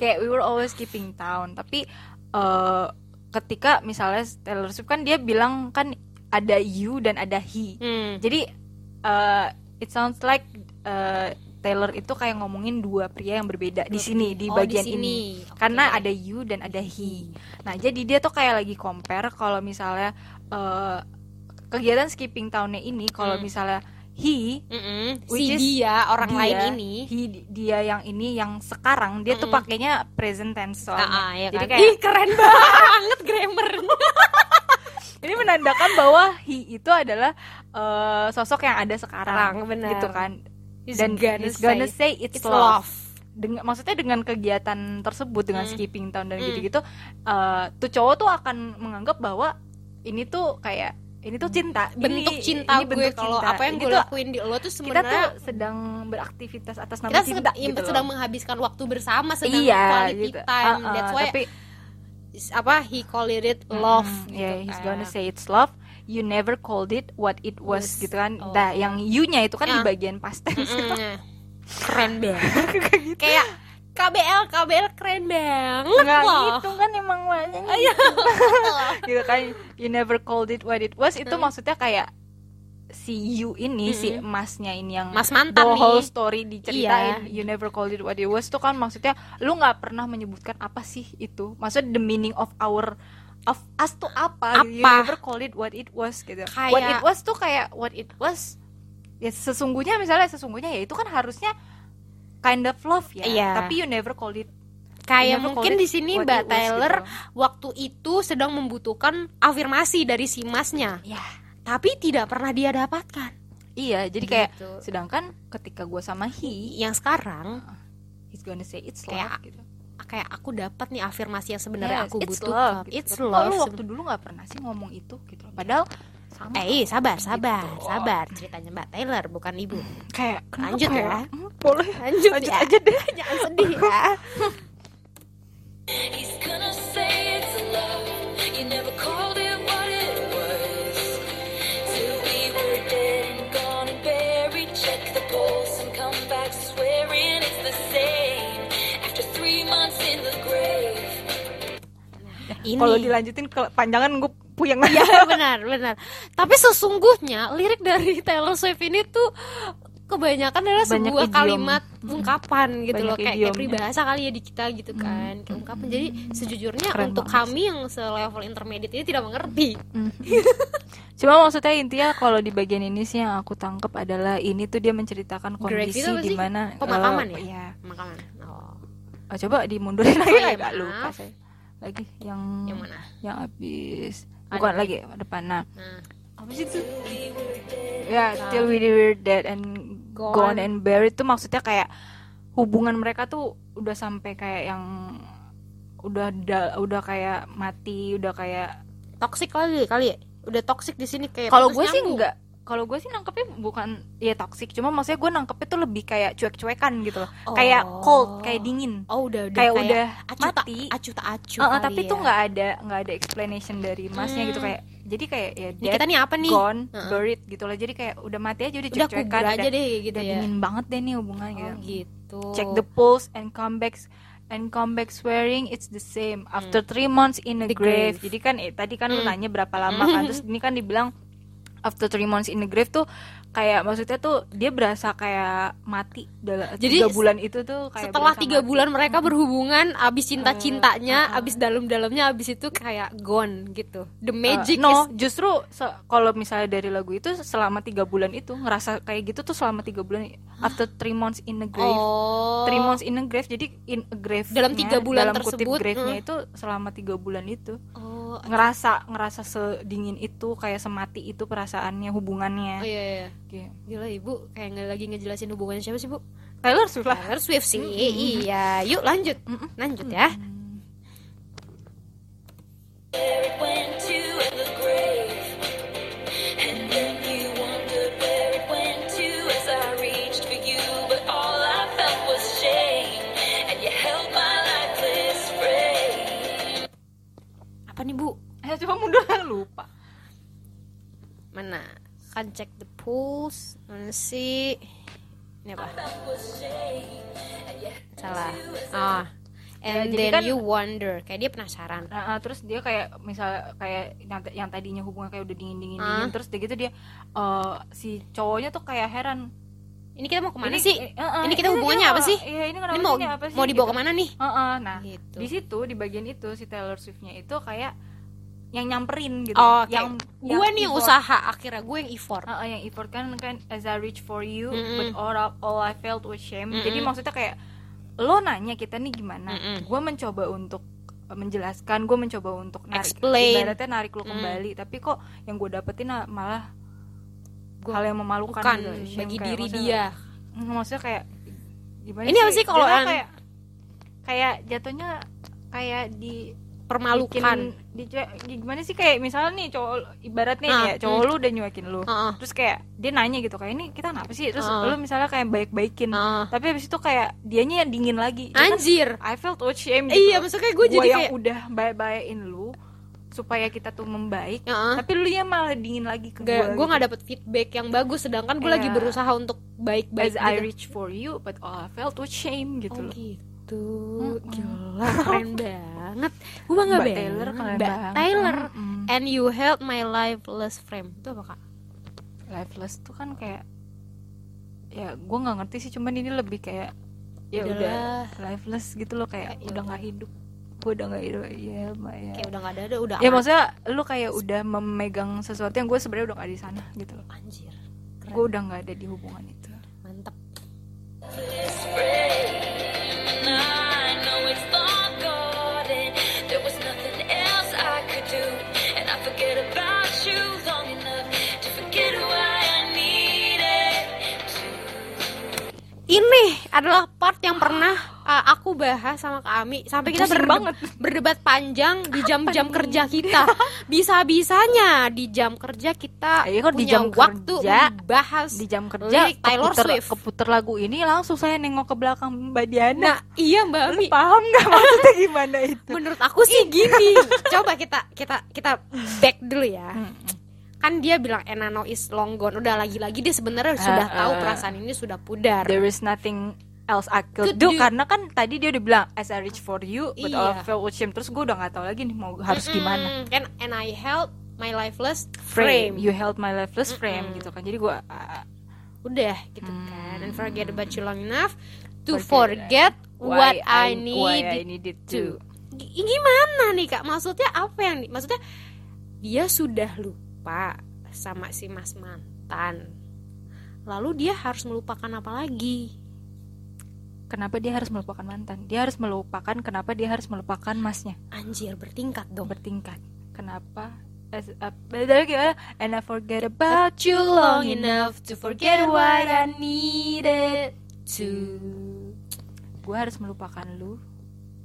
Speaker 2: kayak we were always keeping town tapi eh, ketika misalnya Taylor Swift kan dia bilang kan ada you dan ada he
Speaker 1: Hmm.
Speaker 2: jadi eh, it sounds like eh, Taylor itu kayak ngomongin dua pria yang berbeda di sini di
Speaker 1: Oh,
Speaker 2: bagian
Speaker 1: di
Speaker 2: ini
Speaker 1: sini. Oke.
Speaker 2: karena ada you dan ada he. Nah, jadi dia tuh kayak lagi compare kalau misalnya eh, kegiatan skipping tahunnya ini kalau
Speaker 1: Hmm.
Speaker 2: misalnya he
Speaker 1: Mm-mm. si
Speaker 2: Which is
Speaker 1: dia orang
Speaker 2: dia,
Speaker 1: lain ini.
Speaker 2: he, dia yang ini yang sekarang dia tuh
Speaker 1: Mm-mm.
Speaker 2: pakainya present tense soalnya.
Speaker 1: Ah, ah, iya
Speaker 2: Jadi
Speaker 1: kan?
Speaker 2: kayak
Speaker 1: Ih, keren banget grammar.
Speaker 2: ini menandakan bahwa he itu adalah eh, sosok yang ada
Speaker 1: Sekarang,
Speaker 2: sekarang,
Speaker 1: benar.
Speaker 2: gitu kan.
Speaker 1: He's
Speaker 2: Dan
Speaker 1: gonna
Speaker 2: he's gonna say, it's, love.
Speaker 1: love.
Speaker 2: Dengan, maksudnya dengan kegiatan tersebut dengan
Speaker 1: Hmm.
Speaker 2: skipping tahun dan
Speaker 1: Hmm.
Speaker 2: gitu-gitu, eh, tuh cowok tuh akan menganggap bahwa ini tuh kayak ini tuh cinta, Ini-
Speaker 1: Bentuk cinta
Speaker 2: ini
Speaker 1: gue kalau
Speaker 2: cinta.
Speaker 1: apa yang
Speaker 2: Ini
Speaker 1: gue
Speaker 2: tuh
Speaker 1: lakuin di lo tuh
Speaker 2: kita tuh
Speaker 1: sebenarnya
Speaker 2: sedang beraktivitas atas nama
Speaker 1: kita
Speaker 2: cinta
Speaker 1: sedang, iya,
Speaker 2: gitu
Speaker 1: sedang
Speaker 2: loh.
Speaker 1: menghabiskan waktu bersama sedang
Speaker 2: iya,
Speaker 1: quality
Speaker 2: gitu.
Speaker 1: time.
Speaker 2: Ah, ah,
Speaker 1: That's why
Speaker 2: tapi
Speaker 1: is- apa he call it love.
Speaker 2: Mm,
Speaker 1: gitu
Speaker 2: yeah, he's
Speaker 1: kan.
Speaker 2: gonna say it's love. You never called it what it was,
Speaker 1: Was.
Speaker 2: gitu kan.
Speaker 1: Oh.
Speaker 2: Nah, yang you-nya itu kan di
Speaker 1: Ya.
Speaker 2: bagian past tense.
Speaker 1: Mm-mm. keren banget
Speaker 2: Gitu.
Speaker 1: kayak KBL KBL keren banget
Speaker 2: Nggak
Speaker 1: loh
Speaker 2: gitu kan emang
Speaker 1: Oh,
Speaker 2: wajahnya
Speaker 1: iya.
Speaker 2: gitu kan. You never called it what it was itu maksudnya kayak si you ini si emasnya ini yang
Speaker 1: Mas mantan
Speaker 2: the whole
Speaker 1: nih.
Speaker 2: story
Speaker 1: Iya.
Speaker 2: diceritain you never called it what it was itu kan maksudnya lu nggak pernah menyebutkan apa sih itu maksudnya the meaning of our of us tuh apa, you
Speaker 1: Apa?
Speaker 2: never called it what it was gitu
Speaker 1: Kayak-
Speaker 2: what it was tuh kayak what it was ya sesungguhnya misalnya sesungguhnya ya itu kan harusnya kind of love ya
Speaker 1: Iya.
Speaker 2: tapi you never called it
Speaker 1: kayak
Speaker 2: Never
Speaker 1: mungkin
Speaker 2: call it
Speaker 1: di sini
Speaker 2: iya, what it
Speaker 1: Mbak
Speaker 2: was
Speaker 1: Taylor
Speaker 2: gitu.
Speaker 1: waktu itu sedang membutuhkan afirmasi dari si masnya
Speaker 2: ya
Speaker 1: tapi tidak pernah dia dapatkan
Speaker 2: iya jadi kayak
Speaker 1: Gitu.
Speaker 2: sedangkan ketika gua sama he
Speaker 1: yang sekarang
Speaker 2: he's gonna say it's love
Speaker 1: Kayak-
Speaker 2: gitu.
Speaker 1: kayak aku dapat nih afirmasi yang sebenarnya
Speaker 2: Yes,
Speaker 1: aku
Speaker 2: it's
Speaker 1: butuhkan
Speaker 2: gitu.
Speaker 1: it's
Speaker 2: Tapi kok
Speaker 1: love
Speaker 2: lu
Speaker 1: seben-
Speaker 2: waktu dulu nggak pernah sih ngomong itu gitu loh. Padahal sama
Speaker 1: Eh, sabar, sabar,
Speaker 2: Gitu.
Speaker 1: sabar. Ceritanya Mbak Taylor, bukan Ibu.
Speaker 2: kayak kenapa
Speaker 1: Lanjut ya.
Speaker 2: Hmm, Boleh.
Speaker 1: Lanjut,
Speaker 2: Lanjut
Speaker 1: ya.
Speaker 2: aja deh.
Speaker 1: Jangan sedih ya.
Speaker 3: He's gonna say it's a love. You never called it what it was. Till we were dead and gone and buried. Check the pulse and come back swearing it's the same. After three months in the grave.
Speaker 1: Ini.
Speaker 2: Kalau dilanjutin kepanjangan gue puyeng
Speaker 1: Iya benar benar. Tapi sesungguhnya lirik dari Taylor Swift ini tuh kebanyakan adalah
Speaker 2: Banyak
Speaker 1: sebuah
Speaker 2: idiom. Hmm.
Speaker 1: kalimat ungkapan gitu
Speaker 2: Banyak
Speaker 1: loh kayak, kayak
Speaker 2: idiom.
Speaker 1: peribahasa kali ya di kita gitu kan kayak ungkapan jadi sejujurnya
Speaker 2: Keren
Speaker 1: untuk
Speaker 2: banget
Speaker 1: kami yang selevel intermediate ini tidak mengerti
Speaker 2: Cuma maksudnya intinya kalau di bagian ini sih yang aku tangkep adalah ini tuh dia menceritakan
Speaker 1: Grave
Speaker 2: kondisi
Speaker 1: itu apa sih?
Speaker 2: di mana
Speaker 1: Pemakaman
Speaker 2: eh,
Speaker 1: ya?
Speaker 2: iya.
Speaker 1: makanan oh,
Speaker 2: Oh, coba dimundurin lagi
Speaker 1: iya,
Speaker 2: agak lupa
Speaker 1: maaf.
Speaker 2: saya. Lagi yang
Speaker 1: Yang mana?
Speaker 2: Yang habis bukan lagi depan nah.
Speaker 1: nah
Speaker 2: apa sih itu ya till we were dead and gone,
Speaker 1: Gone.
Speaker 2: and buried tuh maksudnya kayak hubungan mereka tuh udah sampai kayak yang udah da- udah kayak mati udah kayak
Speaker 1: toxic kali kali ya? udah toxic di sini kayak
Speaker 2: kalau
Speaker 1: putus
Speaker 2: gue sih
Speaker 1: nyambung.
Speaker 2: enggak kalau gue sih nangkepnya bukan ya toksik cuma maksudnya gue nangkepnya tuh lebih kayak cuek-cuekan gitu loh kayak
Speaker 1: Oh.
Speaker 2: cold kayak dingin
Speaker 1: oh udah udah
Speaker 2: kayak, udah
Speaker 1: acu tak-
Speaker 2: mati
Speaker 1: acu tak acu
Speaker 2: Heeh,
Speaker 1: kali
Speaker 2: tapi
Speaker 1: ya.
Speaker 2: tuh nggak ada nggak ada explanation dari masnya gitu
Speaker 1: Hmm.
Speaker 2: kayak jadi kayak ya
Speaker 1: Ini
Speaker 2: dead,
Speaker 1: kita nih apa nih
Speaker 2: gone
Speaker 1: Heeh.
Speaker 2: buried gitu loh jadi kayak udah mati aja udah
Speaker 1: udah
Speaker 2: cuek-cuekan
Speaker 1: kubur aja deh gitu
Speaker 2: udah
Speaker 1: ya
Speaker 2: dingin banget deh nih hubungan
Speaker 1: oh
Speaker 2: gitu.
Speaker 1: gitu
Speaker 2: Check the pulse and come back and come back swearing it's the same after three months in a
Speaker 1: Hmm. The grave.
Speaker 2: grave. Jadi kan eh, tadi kan lu
Speaker 1: Hmm.
Speaker 2: nanya berapa lama kan terus ini kan dibilang after three months in the grave tuh kayak maksudnya tuh dia berasa kayak mati dalam
Speaker 1: Jadi,
Speaker 2: tiga bulan itu tuh kayak
Speaker 1: setelah
Speaker 2: berasa
Speaker 1: tiga
Speaker 2: mati. Hmm.
Speaker 1: bulan mereka berhubungan abis cinta cintanya abis dalam dalamnya abis itu kayak gone gitu the magic
Speaker 2: ah. Eh, no
Speaker 1: is
Speaker 2: justru se- kalau misalnya dari lagu itu selama tiga bulan itu ngerasa kayak gitu tuh selama tiga bulan after three months in the grave
Speaker 1: oh
Speaker 2: three months in a grave jadi in a grave
Speaker 1: Dalam tiga bulan
Speaker 2: dalam kutip
Speaker 1: tersebut,
Speaker 2: grave nya
Speaker 1: mm.
Speaker 2: itu selama tiga bulan itu
Speaker 1: oh,
Speaker 2: ngerasa ngerasa sedingin itu kayak semati itu perasaannya
Speaker 1: oh
Speaker 2: hubungannya
Speaker 1: iya, iya.
Speaker 2: Kayak-
Speaker 1: gila ibu kayak nggak lagi ngejelasin hubungannya siapa sih bu
Speaker 2: Taylor Swift lah
Speaker 1: Taylor Swift sih iya yuk lanjut
Speaker 2: Mm-mm.
Speaker 1: lanjut ya
Speaker 3: went to the grave. And then you wondered where it went to as I reached for you. But all I felt was shame. And you held my lifeless frame.
Speaker 1: apa nih bu
Speaker 2: eh coba mundur lupa
Speaker 1: mana kan check the pulse mana sih ini apa
Speaker 3: That was shame. And you
Speaker 1: salah ah
Speaker 2: Ya,
Speaker 1: and
Speaker 2: jadi
Speaker 1: then
Speaker 2: kan-
Speaker 1: you wonder kayak dia penasaran
Speaker 2: Nah, ah, terus dia kayak misal kayak yang, yang tadinya hubungan kayak udah dingin dingin dingin
Speaker 1: Ah.
Speaker 2: terus dia gitu dia eh, si cowoknya tuh kayak heran
Speaker 1: ini kita mau kemana
Speaker 2: Ini-
Speaker 1: sih
Speaker 2: eh, eh,
Speaker 1: ini kita hubungannya
Speaker 2: dia
Speaker 1: apa
Speaker 2: mau-
Speaker 1: sih?
Speaker 2: iya ini kenapa
Speaker 1: ini
Speaker 2: sih,
Speaker 1: mau
Speaker 2: ini apa sih
Speaker 1: mau dibawa
Speaker 2: gitu.
Speaker 1: kemana nih
Speaker 2: Heeh, nah
Speaker 1: gitu
Speaker 2: di situ di bagian itu si Taylor Swiftnya itu kayak yang nyamperin gitu
Speaker 1: Oh, oke.
Speaker 2: yang
Speaker 1: gue nih yang
Speaker 2: effort.
Speaker 1: usaha akhirnya gue yang effort
Speaker 2: Heeh, yang effort kan kan as I reach for you
Speaker 1: Mm-mm.
Speaker 2: but all, I- all I felt was shame
Speaker 1: Mm-mm.
Speaker 2: jadi maksudnya kayak lo nanya kita nih gimana
Speaker 1: Mm-mm.
Speaker 2: gue mencoba untuk eh, menjelaskan gue mencoba untuk narik
Speaker 1: Explain.
Speaker 2: ibaratnya narik lo
Speaker 1: Mm.
Speaker 2: kembali tapi kok yang gue dapetin ah, malah hal yang memalukan
Speaker 1: bukan
Speaker 2: gitu. Shame,
Speaker 1: bagi
Speaker 2: kayak
Speaker 1: diri
Speaker 2: maksudnya-
Speaker 1: dia
Speaker 2: Mm, maksudnya kayak gimana
Speaker 1: Ini apa sih kalau
Speaker 2: Jatuhnya
Speaker 1: yang-
Speaker 2: kayak kayak jatuhnya kayak di
Speaker 1: permalukan
Speaker 2: bikin- dicuek- gimana sih kayak misalnya nih cowok ibaratnya
Speaker 1: Ah,
Speaker 2: nih ya cowok lu udah nyuekin lu
Speaker 1: Heeh.
Speaker 2: terus kayak dia nanya gitu kayak ini kita kenapa sih terus
Speaker 1: Ah.
Speaker 2: lu misalnya kayak baik-baikin
Speaker 1: Ah.
Speaker 2: tapi habis itu kayak dianya yang dingin lagi Ya kan,
Speaker 1: anjir
Speaker 2: I felt oh shame gitu
Speaker 1: iya
Speaker 2: loh.
Speaker 1: maksudnya
Speaker 2: gua
Speaker 1: gue jadi
Speaker 2: yang
Speaker 1: kayak
Speaker 2: udah baik-baikin lu supaya kita tuh membaik
Speaker 1: Heeh.
Speaker 2: tapi lu nya malah dingin lagi ke
Speaker 1: Gak,
Speaker 2: gua
Speaker 1: gue
Speaker 2: gitu.
Speaker 1: nggak dapet feedback yang bagus sedangkan gue lagi
Speaker 2: Iya.
Speaker 1: berusaha untuk baik-baik
Speaker 2: as I
Speaker 1: gitu.
Speaker 2: reach for you but all I felt was shame gitu
Speaker 1: Oh
Speaker 2: loh
Speaker 1: gitu,
Speaker 2: Mm-mm.
Speaker 1: gila keren banget. Gue bangga
Speaker 2: Mbak
Speaker 1: banget.
Speaker 2: Taylor keren
Speaker 1: Mbak
Speaker 2: banget.
Speaker 1: Taylor, Eh.
Speaker 2: Mm-mm.
Speaker 1: and you held my lifeless frame. Itu apa kak?
Speaker 2: lifeless tuh kan kayak ya gue nggak ngerti sih cuman ini lebih kayak ya
Speaker 1: Udahlah.
Speaker 2: udah lifeless gitu loh kayak
Speaker 1: Ya,
Speaker 2: udah nggak hidup gue udah nggak hidup ya Mbak, ya
Speaker 1: Kayak udah nggak ada, udah
Speaker 2: ya
Speaker 1: aman.
Speaker 2: maksudnya lu kayak udah memegang sesuatu yang gue sebenarnya udah gak di sana gitu loh
Speaker 1: Anjir, keren,
Speaker 2: gue udah nggak ada di hubungan itu
Speaker 1: mantep.
Speaker 3: I know it's long gone and there was nothing else I could do. And I forget about you long enough to forget why I needed to.
Speaker 1: Ini adalah part yang pernah uh, aku bahas sama Kak Ami sampai kita
Speaker 2: Pusing
Speaker 1: berde-
Speaker 2: banget.
Speaker 1: berdebat panjang di jam-jam kerja kita. Bisa-bisanya di jam kerja kita
Speaker 2: Iya, kok di
Speaker 1: punya
Speaker 2: jam
Speaker 1: waktu
Speaker 2: kerja,
Speaker 1: bahas
Speaker 2: di jam kerja
Speaker 1: lirik Taylor
Speaker 2: keputer,
Speaker 1: Swift.
Speaker 2: keputer lagu ini langsung saya nengok ke belakang mbak
Speaker 1: Nah,
Speaker 2: Diana
Speaker 1: iya Mbak Ami.
Speaker 2: paham nggak maksudnya gimana itu
Speaker 1: Menurut aku sih gini. Coba kita kita kita back dulu ya. Kan dia bilang Enano is long gone. Udah lagi-lagi dia sebenarnya sudah
Speaker 2: Ah,
Speaker 1: tahu
Speaker 2: ah.
Speaker 1: perasaan ini sudah pudar.
Speaker 2: there is nothing else I could,
Speaker 1: Could do.
Speaker 2: do, karena kan tadi dia udah bilang as I reach for you but all I
Speaker 1: Iya.
Speaker 2: felt was shame terus gue udah nggak tahu lagi nih mau harus gimana
Speaker 1: Mm, And, and I held my lifeless frame.
Speaker 2: frame you held my lifeless frame gitu kan jadi gue
Speaker 1: Udah gitu kan. And forget about you long enough to
Speaker 2: Hmm.
Speaker 1: forget,
Speaker 2: Forget
Speaker 1: what I,
Speaker 2: why
Speaker 1: need
Speaker 2: I needed to
Speaker 1: G- gimana nih kak maksudnya apa yang di- maksudnya dia sudah lupa sama si mas mantan lalu dia harus melupakan apa lagi
Speaker 2: kenapa dia harus melupakan mantan dia harus melupakan kenapa dia harus melupakan masnya
Speaker 1: anjir bertingkat
Speaker 2: Tuh,
Speaker 1: dong
Speaker 2: bertingkat kenapa as a- beda gimana? and I forget about you long enough to forget what I needed to gue harus melupakan lu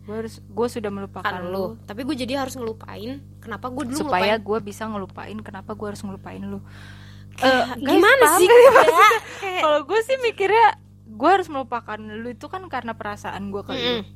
Speaker 2: gue harus gue sudah melupakan
Speaker 1: kan
Speaker 2: lu
Speaker 1: lo tapi gue jadi harus ngelupain kenapa gue dulu
Speaker 2: supaya
Speaker 1: ngelupain
Speaker 2: gue bisa ngelupain kenapa gue harus ngelupain lu
Speaker 1: Eh,
Speaker 2: guys,
Speaker 1: gimana
Speaker 2: paham
Speaker 1: sih
Speaker 2: gak
Speaker 1: Kak?
Speaker 2: maksudnya? kalau gue sih mikirnya gue harus melupakan lu itu kan karena perasaan gue ke lu
Speaker 1: Mm-mm.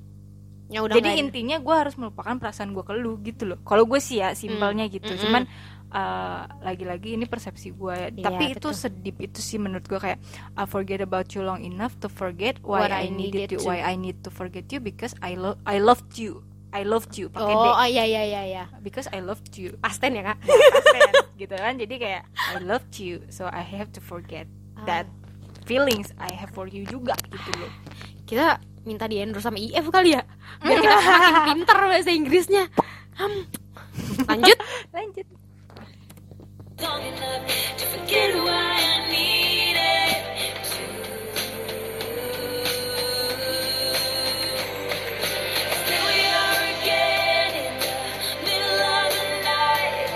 Speaker 1: ya udah
Speaker 2: jadi
Speaker 1: nggak ada.
Speaker 2: intinya gue harus melupakan perasaan gue ke lu gitu loh kalau gue sih ya simpelnya gitu
Speaker 1: Mm-mm.
Speaker 2: cuman eh, lagi-lagi ini persepsi gue ya.
Speaker 1: Iya,
Speaker 2: tapi itu
Speaker 1: betul.
Speaker 2: sedip itu sih menurut gue kayak I forget about you long enough to forget why
Speaker 1: What
Speaker 2: I, needed you why I need to forget you because I love I loved you I loved you pakai
Speaker 1: oh,
Speaker 2: D
Speaker 1: oh iya iya iya iya.
Speaker 2: because I loved you
Speaker 1: Pasten ya kak?
Speaker 2: gitu kan jadi kayak I loved you so I have to forget
Speaker 1: Ah.
Speaker 2: that feelings I have for you juga gitu loh
Speaker 1: Kita minta di endorse sama IF kali ya Biar kita makin pinter bahasa Inggrisnya Hmm. Lanjut
Speaker 2: lanjut
Speaker 3: long enough to forget why I needed to. Still we are again in the middle of the night.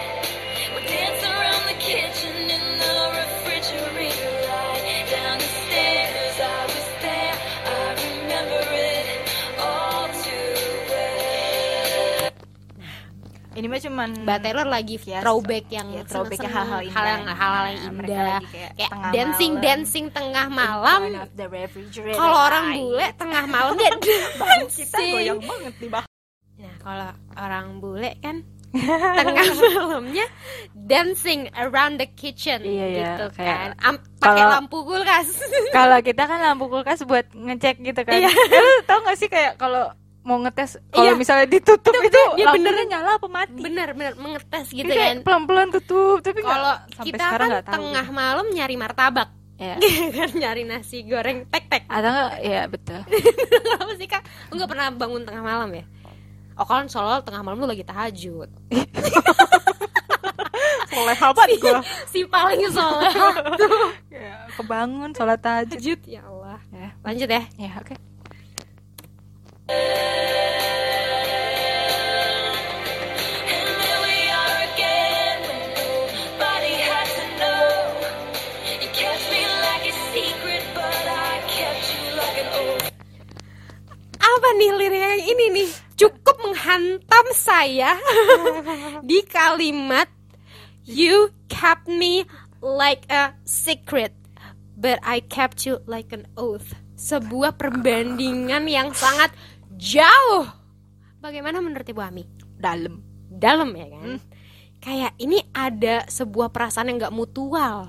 Speaker 3: We dance around the kitchen in the refrigerator light. Down the stairs, I was there. I remember it all too well.
Speaker 2: ini mah cuman
Speaker 1: Mbak Taylor lagi
Speaker 2: Yes.
Speaker 1: throwback yang
Speaker 2: Ya, throwback
Speaker 1: seneng-seneng,
Speaker 2: yang hal-hal indah.
Speaker 1: hal yang, hal-hal yang
Speaker 2: Ya, mereka
Speaker 1: indah
Speaker 2: lagi kayak
Speaker 1: Kayak,
Speaker 2: tengah
Speaker 1: dancing
Speaker 2: malam.
Speaker 1: dancing tengah malam
Speaker 2: In front of the refrigerator
Speaker 1: Kalau orang
Speaker 2: light.
Speaker 1: bule tengah malam dia
Speaker 2: Bahan kita
Speaker 1: dancing.
Speaker 2: goyang banget nih bah
Speaker 1: Nah kalau orang bule kan tengah malamnya dancing around the kitchen
Speaker 2: Iya, iya,
Speaker 1: gitu
Speaker 2: kayak-
Speaker 1: kan Am- pakai
Speaker 2: kalau-
Speaker 1: lampu kulkas
Speaker 2: kalau kita kan lampu kulkas buat ngecek gitu kan
Speaker 1: Iya.
Speaker 2: Lu tau gak sih kayak kalau mau ngetes kalau
Speaker 1: Iya.
Speaker 2: misalnya ditutup itu,
Speaker 1: dia
Speaker 2: lampunya
Speaker 1: beneran-
Speaker 2: nyala apa mati
Speaker 1: bener bener mengetes gitu
Speaker 2: Jadi kayak
Speaker 1: kan
Speaker 2: pelan-pelan tutup tapi nggak-
Speaker 1: kalau
Speaker 2: sampai
Speaker 1: kita
Speaker 2: sekarang
Speaker 1: kan
Speaker 2: nggak tahu gitu.
Speaker 1: tengah malam nyari martabak
Speaker 2: Iya.
Speaker 1: kan nyari nasi goreng tek tek
Speaker 2: atau nggak ya betul
Speaker 1: kenapa sih kak lu nggak pernah bangun tengah malam ya oh kan soalnya tengah malam lu lagi tahajud
Speaker 2: soleh banget gue
Speaker 1: si paling soalnya
Speaker 2: Iya, kebangun sholat tahajud
Speaker 1: tahajud ya Allah
Speaker 2: ya
Speaker 1: lanjut ya
Speaker 2: ya oke
Speaker 3: And there we are again when nobody had to know. You kept me like a secret, but I kept you like an old.
Speaker 1: apa nih lirik yang ini nih cukup menghantam saya di kalimat you kept me like a secret but I kept you like an oath sebuah perbandingan yang sangat jauh bagaimana menurut Ibu Ami
Speaker 2: dalam
Speaker 1: dalam ya kan kayak ini ada sebuah perasaan yang nggak mutual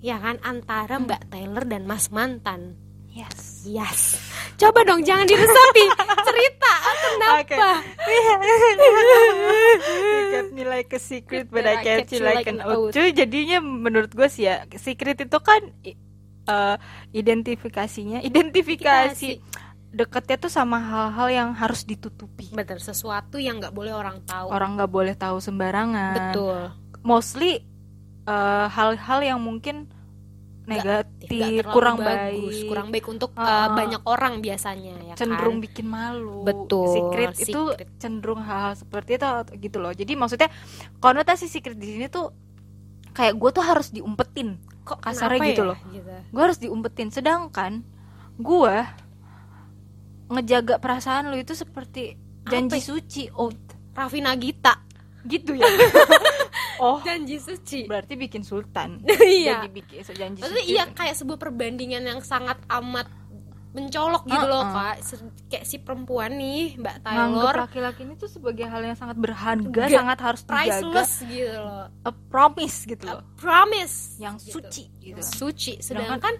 Speaker 1: ya kan antara Mbak Taylor dan Mas mantan
Speaker 2: yes
Speaker 1: Yes. Coba dong jangan diresapi. Cerita kenapa?
Speaker 2: Oke. kept me like a secret but I kept you like an oath Cuy, jadinya menurut gue sih ya secret itu kan i- eh, identifikasinya identifikasi deketnya tuh sama hal-hal yang harus ditutupi
Speaker 1: Betul, sesuatu yang nggak boleh orang tahu.
Speaker 2: orang nggak boleh tahu sembarangan
Speaker 1: Betul.
Speaker 2: mostly eh, hal-hal yang mungkin negatif
Speaker 1: Nggak terlalu
Speaker 2: kurang
Speaker 1: bagus,
Speaker 2: baik
Speaker 1: kurang baik untuk
Speaker 2: Ah.
Speaker 1: eh, banyak orang biasanya ya
Speaker 2: cenderung
Speaker 1: kan?
Speaker 2: bikin malu.
Speaker 1: Betul,
Speaker 2: Secret, itu
Speaker 1: secret.
Speaker 2: cenderung hal-hal seperti itu atau- gitu loh. Jadi maksudnya konotasi secret di sini tuh kayak gue tuh harus diumpetin.
Speaker 1: kok
Speaker 2: kasarnya
Speaker 1: kenapa
Speaker 2: gitu
Speaker 1: ya?
Speaker 2: loh. Gue harus diumpetin. Sedangkan gue ngejaga perasaan lu itu seperti janji
Speaker 1: ya?
Speaker 2: suci oh
Speaker 1: Raffi Nagita,
Speaker 2: gitu ya. oh,
Speaker 1: janji suci.
Speaker 2: berarti bikin sultan.
Speaker 1: Iya.
Speaker 2: Jadi bikin so, janji
Speaker 1: Maksudnya
Speaker 2: suci.
Speaker 1: iya kayak sebuah perbandingan yang sangat amat mencolok gitu
Speaker 2: Ah,
Speaker 1: loh,
Speaker 2: ah.
Speaker 1: Kak. Se- Kayak si perempuan nih, Mbak
Speaker 2: Nganggep
Speaker 1: Taylor,
Speaker 2: laki-laki ini tuh sebagai hal yang sangat berharga,
Speaker 1: Nggak.
Speaker 2: sangat harus dijaga,
Speaker 1: priceless gitu loh.
Speaker 2: a promise gitu
Speaker 1: A
Speaker 2: loh.
Speaker 1: promise
Speaker 2: yang
Speaker 1: gitu.
Speaker 2: suci gitu.
Speaker 1: Yang suci sedangkan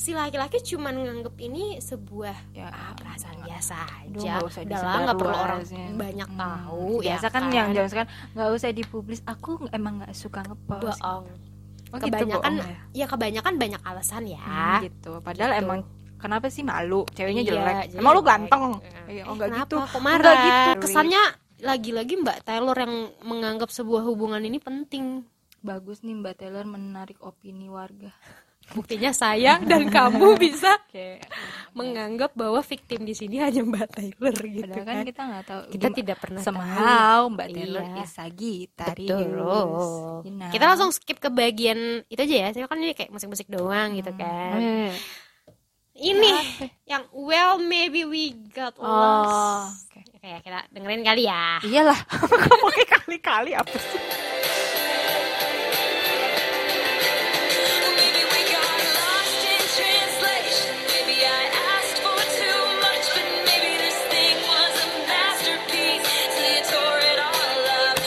Speaker 1: si laki-laki cuman nganggep ini sebuah
Speaker 2: Ya,
Speaker 1: ah, perasaan
Speaker 2: enggak.
Speaker 1: biasa
Speaker 2: Aduh,
Speaker 1: aja
Speaker 2: nggak usah
Speaker 1: udah lah
Speaker 2: disebar
Speaker 1: nggak perlu
Speaker 2: luas,
Speaker 1: orang
Speaker 2: ya.
Speaker 1: banyak
Speaker 2: Hmm.
Speaker 1: tahu
Speaker 2: biasa
Speaker 1: ya
Speaker 2: kan yang jangan sekarang nggak usah dipublis aku nggak- emang nggak suka ngepost
Speaker 1: bohong
Speaker 2: Oh, gitu,
Speaker 1: kebanyakan
Speaker 2: bohong ya?
Speaker 1: ya kebanyakan banyak alasan ya
Speaker 2: Hmm, gitu padahal
Speaker 1: gitu.
Speaker 2: emang kenapa sih malu ceweknya
Speaker 1: Iya,
Speaker 2: jelek
Speaker 1: jadi
Speaker 2: emang lu
Speaker 1: jelek.
Speaker 2: ganteng
Speaker 1: Eh,
Speaker 2: Iya, oh nggak
Speaker 1: kenapa
Speaker 2: gitu
Speaker 1: kok
Speaker 2: Oh,
Speaker 1: marah
Speaker 2: nggak gitu
Speaker 1: kesannya lagi-lagi Mbak Taylor yang menganggap sebuah hubungan ini penting
Speaker 2: bagus nih mbak Taylor menarik opini warga
Speaker 1: buktinya saya dan kamu bisa
Speaker 2: kayak
Speaker 1: menganggap bahwa victim di sini hanya Mbak Taylor gitu
Speaker 2: padahal kan
Speaker 1: kan
Speaker 2: kita nggak tahu
Speaker 1: kita
Speaker 2: Gimana-
Speaker 1: tidak pernah tahu
Speaker 2: somehow mbak Taylor
Speaker 1: Iya.
Speaker 2: is Sagittarius
Speaker 1: Betul.
Speaker 2: You know.
Speaker 1: Kita langsung skip ke bagian itu aja ya. Saya kan ini kayak musik-musik doang gitu kan.
Speaker 2: Eh.
Speaker 1: Ini yang well maybe we got
Speaker 2: Oh,
Speaker 1: lost.
Speaker 2: oke.
Speaker 1: Kayak kita dengerin kali ya.
Speaker 2: iyalah kamu pakai kali-kali apa sih
Speaker 3: Maybe we got lost in translation. Maybe I asked for too much, but maybe this thing was a masterpiece. So you tore it all up.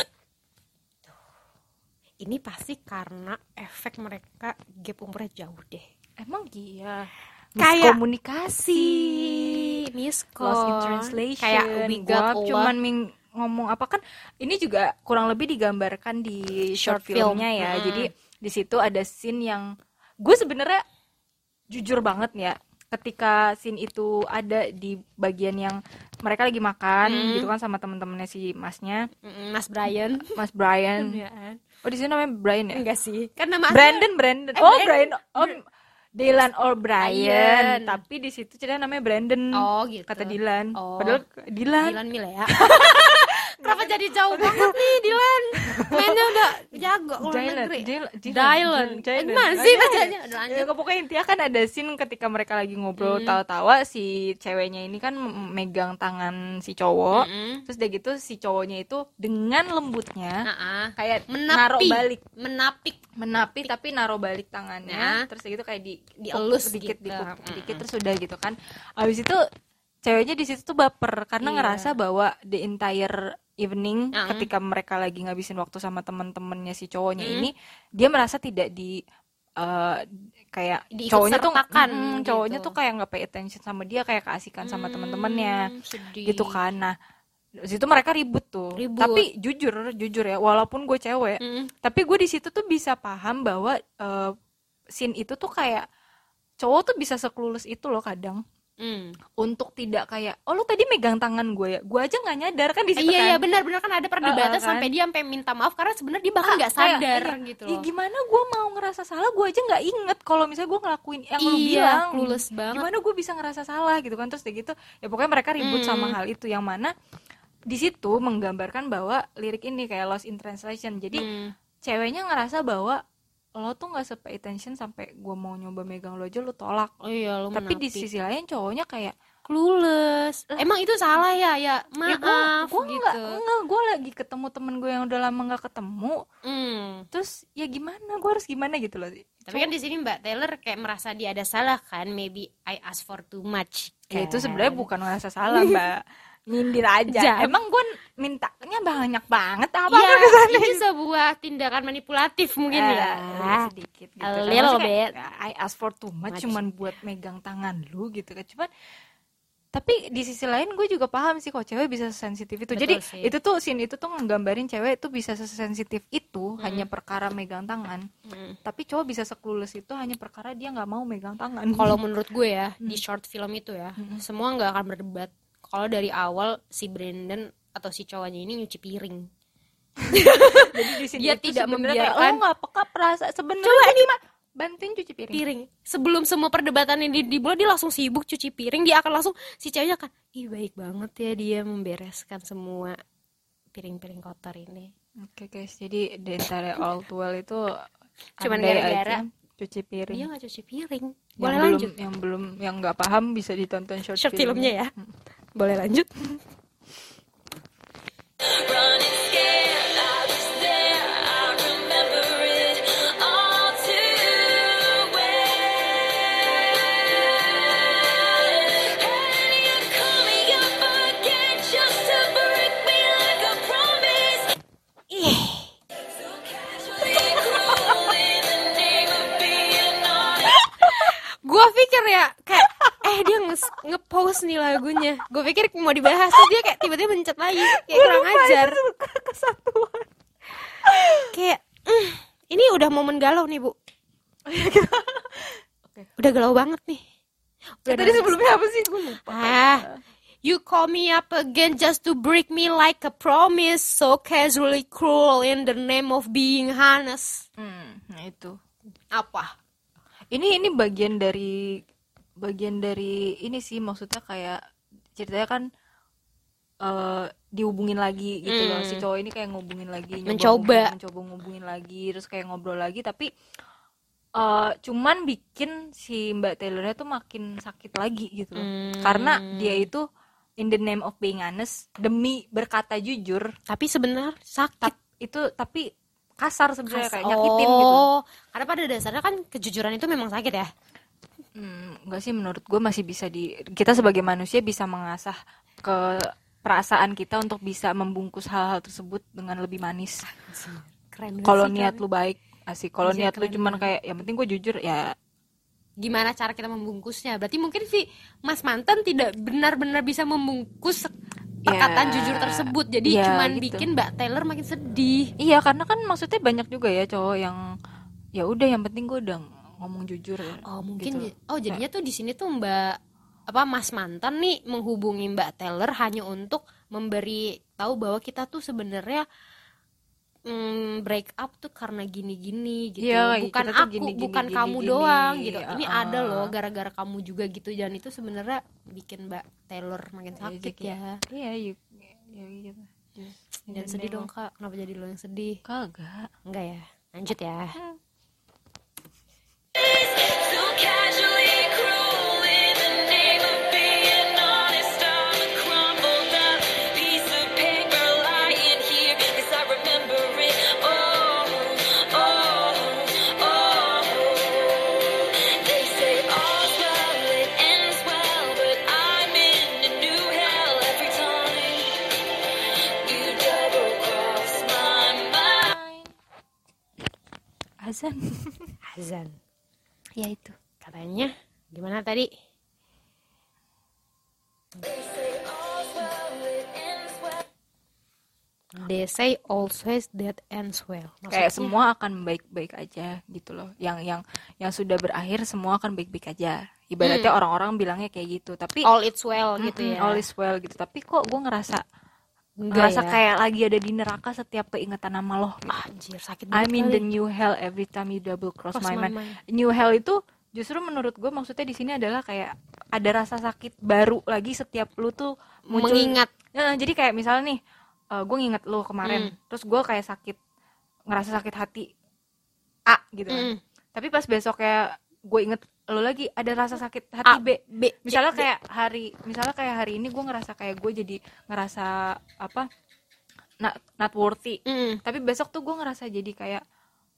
Speaker 1: Ini pasti karena efek mereka gap umurnya jauh deh.
Speaker 2: Emang iya.
Speaker 1: Kayak-
Speaker 2: komunikasi
Speaker 1: si Misko
Speaker 2: lost in translation
Speaker 1: kayak we got
Speaker 2: Gua
Speaker 1: lost.
Speaker 2: cuman ming- ngomong apa kan ini juga kurang lebih digambarkan di
Speaker 1: Short
Speaker 2: short
Speaker 1: film.
Speaker 2: filmnya ya
Speaker 1: Mm.
Speaker 2: jadi di situ ada scene yang gue sebenarnya jujur banget nih ya ketika scene itu ada di bagian yang mereka lagi makan
Speaker 1: Mm.
Speaker 2: gitu kan sama temen-temennya si masnya
Speaker 1: Mm, Mas Brian
Speaker 2: mas Brian
Speaker 1: Iya.
Speaker 2: oh di sini namanya Brian ya
Speaker 1: enggak sih kan nama asli-
Speaker 2: Brandon Brandon
Speaker 1: Eh,
Speaker 2: oh Brian
Speaker 1: Brandon. Hmm.
Speaker 2: oh Dylan O'Brien
Speaker 1: Brian.
Speaker 2: tapi di situ ceritanya namanya Brandon
Speaker 1: oh gitu
Speaker 2: kata Dylan
Speaker 1: Oh.
Speaker 2: padahal Dylan
Speaker 1: Dilan Mila ya kenapa jadi jauh banget nih Dilan mainnya udah jago luar
Speaker 2: Dylan,
Speaker 1: negeri
Speaker 2: Dylan,
Speaker 1: Dylan. Eh, masih
Speaker 2: Oh, iya, iya.
Speaker 1: bacanya. Udah lanjut. Hmm.
Speaker 2: Ya, pokoknya intinya kan ada scene ketika mereka lagi ngobrol tawa-tawa si ceweknya ini kan mem- megang tangan si cowok.
Speaker 1: Mm-mm.
Speaker 2: Terus udah gitu si cowoknya itu dengan lembutnya
Speaker 1: Ah, ah.
Speaker 2: kayak naruh
Speaker 1: menapi
Speaker 2: balik,
Speaker 1: menapik
Speaker 2: menapi tapi naruh balik
Speaker 1: Nah.
Speaker 2: tangannya. Terus udah gitu kayak di
Speaker 1: Dielus
Speaker 2: dikit,
Speaker 1: gitu.
Speaker 2: dikit,
Speaker 1: Mm-mm.
Speaker 2: dikit terus udah gitu kan. Abis itu ceweknya di situ tuh baper karena
Speaker 1: Iya.
Speaker 2: ngerasa bahwa the entire evening
Speaker 1: Mm.
Speaker 2: ketika mereka lagi ngabisin waktu sama teman-temannya si cowoknya ini dia merasa tidak di eh, kayak
Speaker 1: Diikut
Speaker 2: cowoknya tuh
Speaker 1: sertakan
Speaker 2: mm,
Speaker 1: gitu.
Speaker 2: cowoknya tuh kayak nggak pay attention sama dia kayak keasikan kan sama teman-temannya
Speaker 1: Hmm, sedih.
Speaker 2: gitu kan nah di situ mereka ribut tuh
Speaker 1: Ribut.
Speaker 2: tapi jujur jujur ya walaupun gue cewek
Speaker 1: Mm.
Speaker 2: tapi gue di situ tuh bisa paham bahwa eh, scene itu tuh kayak cowok tuh bisa sekelulus itu loh kadang
Speaker 1: Mm.
Speaker 2: untuk tidak kayak oh lu tadi megang tangan gue ya gue aja nggak nyadar kan di situ
Speaker 1: iya
Speaker 2: kan
Speaker 1: iya benar-benar kan ada perdebatan
Speaker 2: Eh, eh, kan.
Speaker 1: sampai dia sampai minta maaf karena sebenarnya dia bahkan nggak
Speaker 2: Kayak,
Speaker 1: sadar
Speaker 2: iya,
Speaker 1: gitu
Speaker 2: "Ih,
Speaker 1: loh.
Speaker 2: gimana gue mau ngerasa salah gue aja nggak inget kalau misalnya gue ngelakuin yang lu
Speaker 1: Iya,
Speaker 2: bilang
Speaker 1: clueless banget.
Speaker 2: gimana gue bisa ngerasa salah gitu kan terus udah gitu ya pokoknya mereka ribut
Speaker 1: Hmm.
Speaker 2: sama hal itu yang mana di situ menggambarkan bahwa lirik ini kayak lost in translation jadi
Speaker 1: Mm.
Speaker 2: ceweknya ngerasa bahwa lo tuh nggak sepe attention sampai gue mau nyoba megang lo aja lo tolak
Speaker 1: Oh iya lu
Speaker 2: tapi di
Speaker 1: menapik.
Speaker 2: sisi lain cowoknya kayak
Speaker 1: clueless. Emang itu salah ya ya?
Speaker 2: ya
Speaker 1: Maaf
Speaker 2: gue gue
Speaker 1: gitu.
Speaker 2: nggak nggak gue lagi ketemu temen gue yang udah lama nggak ketemu
Speaker 1: Mm.
Speaker 2: terus ya gimana gue harus gimana gitu loh
Speaker 1: Tapi kan di sini Mbak Taylor kayak merasa dia ada salah kan? Maybe I ask for too much.
Speaker 2: Ya, itu
Speaker 1: kan?
Speaker 2: sebenarnya bukan ngerasa salah mbak Mindir aja
Speaker 1: Jam.
Speaker 2: Emang gue mintanya banyak banget apa
Speaker 1: Iya,
Speaker 2: ke sana?
Speaker 1: itu sebuah tindakan manipulatif mungkin
Speaker 2: Eh,
Speaker 1: ya.
Speaker 2: Sedikit gitu
Speaker 1: A
Speaker 2: kan.
Speaker 1: little
Speaker 2: Maksudnya kayak,
Speaker 1: bit.
Speaker 2: I ask for too much
Speaker 1: Much.
Speaker 2: Cuman buat megang tangan lu gitu kan Cuman tapi di sisi lain gue juga paham sih kok cewek bisa sensitif itu.
Speaker 1: Betul
Speaker 2: Jadi
Speaker 1: sih.
Speaker 2: itu tuh scene itu tuh nggambarin cewek itu bisa sesensitif itu hanya perkara megang tangan.
Speaker 1: Mm.
Speaker 2: Tapi cowok bisa sekelulus itu hanya perkara dia nggak mau megang tangan.
Speaker 1: Kalau menurut gue ya
Speaker 2: Mm-hmm.
Speaker 1: di short film itu ya, semua nggak akan berdebat. Kalau dari awal si Brandon atau si cowoknya ini nyuci piring.
Speaker 2: Jadi di sini
Speaker 1: dia
Speaker 2: itu
Speaker 1: tidak
Speaker 2: sebenarnya kayak,
Speaker 1: membiarkan-
Speaker 2: lo nggak peka perasa sebenarnya kan cuma bantuin cuci piring.
Speaker 1: piring sebelum semua perdebatan yang di- dimulai dia langsung sibuk cuci piring dia akan langsung si ceweknya akan ih baik banget ya dia membereskan semua piring-piring kotor ini
Speaker 2: Oke guys, jadi di antara all too well itu
Speaker 1: Cuman
Speaker 2: andai
Speaker 1: gara-gara. Iya,
Speaker 2: aja cuci piring.
Speaker 1: dia nggak cuci piring
Speaker 2: Iya.
Speaker 1: boleh
Speaker 2: Yang belum-
Speaker 1: lanjut
Speaker 2: yang belum yang nggak paham bisa ditonton short,
Speaker 1: short filmnya ya boleh lanjut
Speaker 3: Running scared, I was there. I remember it all too well. And you call me up again just to break me like a promise. So casually cruel in the name of being honest.
Speaker 1: gue pikir ya kayak eh dia nge- nge-post nih lagunya gue pikir mau dibahas terus dia kayak tiba-tiba mencet lagi kayak Iya, kurang ajar
Speaker 2: Kesatuan.
Speaker 1: kayak "Mm, ini udah momen galau nih bu udah galau banget nih udah
Speaker 2: Tadi sebelumnya apa sih? Gue lupa.
Speaker 1: Ah, you call me up again just to break me like a promise, so casually cruel in the name of being honest.
Speaker 2: Hmm, nah itu.
Speaker 1: Apa?
Speaker 2: Ini ini bagian dari bagian dari ini sih maksudnya kayak ceritanya kan eh dihubungin lagi gitu loh si cowok ini kayak ngubungin lagi nyoba
Speaker 1: Mencoba.
Speaker 2: ngubungin, mencoba ngubungin lagi terus kayak ngobrol lagi tapi eh cuman bikin si Mbak Taylornya tuh makin sakit lagi gitu loh
Speaker 1: Hmm.
Speaker 2: karena dia itu in the name of being honest demi berkata jujur
Speaker 1: Tapi sebenarnya sakit.
Speaker 2: tap- itu tapi kasar sebenarnya kayak
Speaker 1: Kas-
Speaker 2: nyakitin
Speaker 1: oh,
Speaker 2: gitu
Speaker 1: Karena pada dasarnya kan kejujuran itu memang sakit ya.
Speaker 2: Hmm, enggak sih menurut gue masih bisa di kita sebagai manusia bisa mengasah ke perasaan kita untuk bisa membungkus hal-hal tersebut dengan lebih manis.
Speaker 1: Keren.
Speaker 2: Kalau niat lu baik, asik. Kalau
Speaker 1: Iya,
Speaker 2: niat lu
Speaker 1: keren
Speaker 2: cuman kayak yang penting gue jujur ya
Speaker 1: gimana cara kita membungkusnya. Berarti mungkin Vi Mas Manten tidak benar-benar bisa membungkus perkataan
Speaker 2: Ya,
Speaker 1: jujur tersebut. Jadi
Speaker 2: ya,
Speaker 1: cuman
Speaker 2: Iya. gitu.
Speaker 1: bikin Mbak Taylor makin sedih.
Speaker 2: Iya karena kan maksudnya banyak juga ya cowok yang ya udah yang penting gue udah ngomong jujur.
Speaker 1: Oh, mungkin
Speaker 2: Gitu.
Speaker 1: j- oh jadinya tuh di sini tuh Mbak apa Mas Manten nih menghubungi Mbak Taylor hanya untuk memberi tahu bahwa kita tuh sebenarnya mm, break up tuh karena gini-gini gitu.
Speaker 2: Iya,
Speaker 1: bukan
Speaker 2: kita tuh
Speaker 1: aku,
Speaker 2: gini-gini,
Speaker 1: bukan kamu
Speaker 2: gini-gini.
Speaker 1: doang gitu. Ini
Speaker 2: Ah.
Speaker 1: ada loh gara-gara kamu juga gitu dan itu sebenarnya bikin Mbak Taylor makin
Speaker 2: Iya,
Speaker 1: sakit
Speaker 2: jadi-
Speaker 1: ya.
Speaker 2: Iya yuk. Ya gitu. Yes.
Speaker 1: Dan sedih dong Kak, kenapa jadi lo yang sedih?
Speaker 2: Kagak.
Speaker 1: Enggak ya. Lanjut ya.
Speaker 3: So casually cruel in the name of being honest, I'm a crumbled up piece of paper lying here 'cause I remember it. Oh, oh, oh. They say all's well that ends well, but I'm in a new hell every time you double cross my mind.
Speaker 2: Azan.
Speaker 1: Azan.
Speaker 2: ya itu.
Speaker 1: Katanya gimana tadi?
Speaker 3: They say all's well that ends well.
Speaker 1: They say always that ends well.
Speaker 2: Kayak semua akan baik-baik aja gitu loh. Yang yang yang sudah berakhir semua akan baik-baik aja. Ibaratnya orang-orang bilangnya kayak gitu. Tapi
Speaker 1: all it's well Hmm. gitu
Speaker 2: Mm-mm,
Speaker 1: ya.
Speaker 2: all is well gitu. Tapi kok gue ngerasa
Speaker 1: Enggak
Speaker 2: ngerasa
Speaker 1: ya.
Speaker 2: kayak lagi ada di neraka setiap keingetan sama lo.
Speaker 1: "Ah, anjir sakit banget.
Speaker 2: I mean
Speaker 1: kali.
Speaker 2: the new hell every time you double cross,
Speaker 1: Cross
Speaker 2: my
Speaker 1: my
Speaker 2: mind.
Speaker 1: mind.
Speaker 2: New hell itu justru menurut gue maksudnya di sini adalah kayak ada rasa sakit baru lagi setiap lu tuh muncul.
Speaker 1: mengingat
Speaker 2: Nah, jadi kayak misalnya nih gue nginget lu kemarin,
Speaker 1: Hmm.
Speaker 2: terus gue kayak sakit ngerasa sakit hati A gitu.
Speaker 1: Mm.
Speaker 2: kan. Tapi pas besoknya gue inget lu lagi ada rasa sakit hati
Speaker 1: A,
Speaker 2: B.
Speaker 1: B, C,
Speaker 2: Misalnya
Speaker 1: D.
Speaker 2: kayak hari, misalnya kayak hari ini gue ngerasa kayak gue jadi ngerasa apa? Not, not worthy
Speaker 1: Mm.
Speaker 2: tapi besok tuh gue ngerasa jadi kayak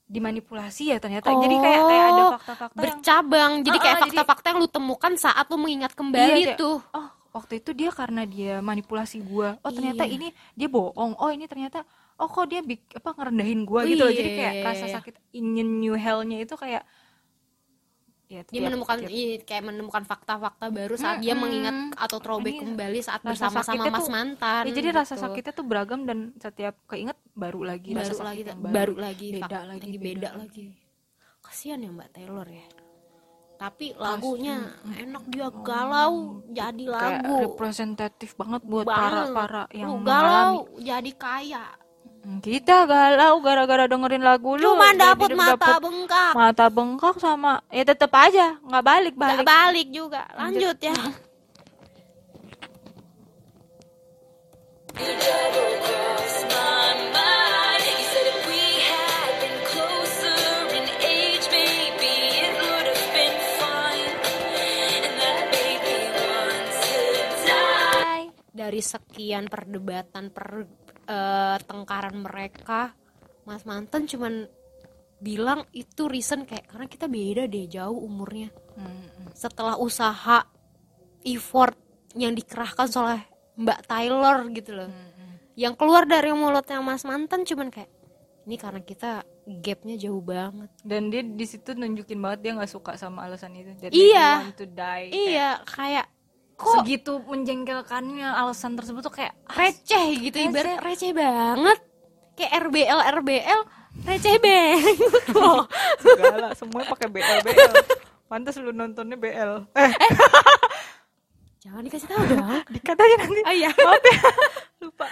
Speaker 2: dimanipulasi ya ternyata jadi kayak kayak ada
Speaker 1: Oh,
Speaker 2: fakta-fakta yang
Speaker 1: bercabang. Jadi kayak
Speaker 2: Ah, ah, jadi-
Speaker 1: fakta-fakta yang lu temukan saat lu mengingat
Speaker 2: Iya,
Speaker 1: kembali
Speaker 2: kayak,
Speaker 1: tuh.
Speaker 2: oh waktu itu dia karena dia manipulasi gue oh ternyata
Speaker 1: Iya.
Speaker 2: ini dia bohong oh ini ternyata oh kok dia bik- apa ngerendahin gue gitu loh jadi kayak
Speaker 1: Iya.
Speaker 2: rasa sakit ingin new hellnya itu kayak ya,
Speaker 1: Dia
Speaker 2: tiap-
Speaker 1: menemukan
Speaker 2: tiap-
Speaker 1: iya, kayak menemukan fakta-fakta baru saat dia
Speaker 2: Mm-mm.
Speaker 1: mengingat atau throwback
Speaker 2: Iya.
Speaker 1: kembali saat
Speaker 2: Rasa
Speaker 1: bersama-sama
Speaker 2: sakitnya
Speaker 1: mas
Speaker 2: tuh-
Speaker 1: mantan.
Speaker 2: Ya, jadi rasa
Speaker 1: gitu.
Speaker 2: sakitnya tuh beragam dan setiap keinget baru lagi
Speaker 1: baru
Speaker 2: rasa sakit
Speaker 1: lagi
Speaker 2: yang
Speaker 1: baru, lagi
Speaker 2: beda
Speaker 1: fak-
Speaker 2: lagi,
Speaker 1: lagi
Speaker 2: beda
Speaker 1: beda, lagi kasihan ya mbak Taylor ya tapi lagunya enak dia galau jadi
Speaker 2: Oh. kayak
Speaker 1: lagu
Speaker 2: representatif banget buat
Speaker 1: Banget.
Speaker 2: para para yang
Speaker 1: Lu Uh, galau
Speaker 2: mengalami
Speaker 1: jadi kaya
Speaker 2: Hmm, Kita galau gara-gara dengerin lagu lu.
Speaker 1: cuma
Speaker 2: Jadi
Speaker 1: dapet
Speaker 2: dapet
Speaker 1: mata bengkak
Speaker 2: mata bengkak sama ya tetep aja nggak balik
Speaker 1: nggak
Speaker 2: balik.
Speaker 1: balik juga lanjut ya
Speaker 3: You double crossed my mind. You said if we had been closer in age, maybe it would have been fine. And that made me want to die.
Speaker 1: dari sekian perdebatan per eh, tengkaran mereka mas mantan cuman bilang itu reason kayak karena kita beda deh jauh umurnya
Speaker 2: Hmm.
Speaker 1: setelah usaha effort yang dikerahkan oleh Mbak Taylor gitu loh.
Speaker 2: Hmm.
Speaker 1: Yang keluar dari mulutnya Mas Mantan cuman kayak ini karena kita gapnya jauh banget.
Speaker 2: Dan dia di situ nunjukin banget dia nggak suka sama alasan itu. Jadi
Speaker 1: Iya.
Speaker 2: want to die.
Speaker 1: Iya, kayak
Speaker 2: Kayak
Speaker 1: kok
Speaker 2: Segitu menjengkelkannya alasan tersebut tuh kayak
Speaker 1: receh gitu ibarat receh banget. Kayak RBL RBL receh banget loh.
Speaker 2: segala semuanya pakai BL BL. Pantas lu nontonnya BL. Eh,
Speaker 1: Jangan dikasih tahu dong.
Speaker 2: dikatanya nanti.
Speaker 1: Ah, iya.
Speaker 2: Maaf ya. Lupa.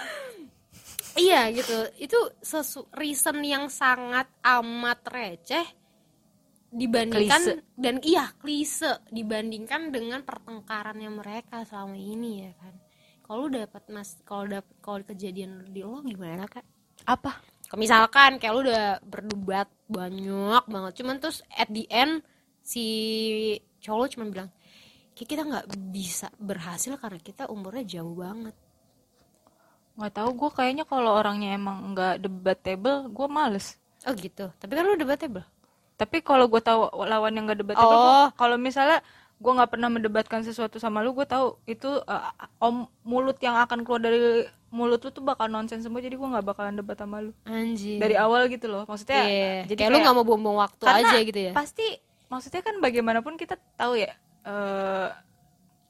Speaker 1: Iya gitu. Itu sesu reason yang sangat amat receh dibandingkan dan iya klise dibandingkan dengan pertengkarannya mereka selama ini ya kan. Kalau lu dapat Mas, kalau dapat kalau kejadian di lo gimana Kak?
Speaker 2: Apa?
Speaker 1: Kalau misalkan kayak lu udah berdebat banyak banget cuman terus at the end si cowok lu cuman bilang kayak kita nggak bisa berhasil karena kita umurnya jauh banget.
Speaker 2: Nggak tahu gue kayaknya kalau orangnya emang nggak debatable, gue males.
Speaker 1: Oh gitu. Tapi kan lu debatable.
Speaker 2: tapi kalau gue tahu lawan yang gak debatable
Speaker 1: Oh.
Speaker 2: gua- kalau misalnya gue nggak pernah mendebatkan sesuatu sama lu gue tahu itu eh, om mulut yang akan keluar dari mulut lu tuh bakal nonsens semua jadi gue nggak bakalan debat sama lu
Speaker 1: Anjir.
Speaker 2: dari awal gitu loh maksudnya
Speaker 1: Iya,
Speaker 2: jadi
Speaker 1: kayak, lu nggak mau buang-buang waktu
Speaker 2: karena
Speaker 1: aja gitu ya
Speaker 2: pasti maksudnya kan bagaimanapun kita tahu ya eh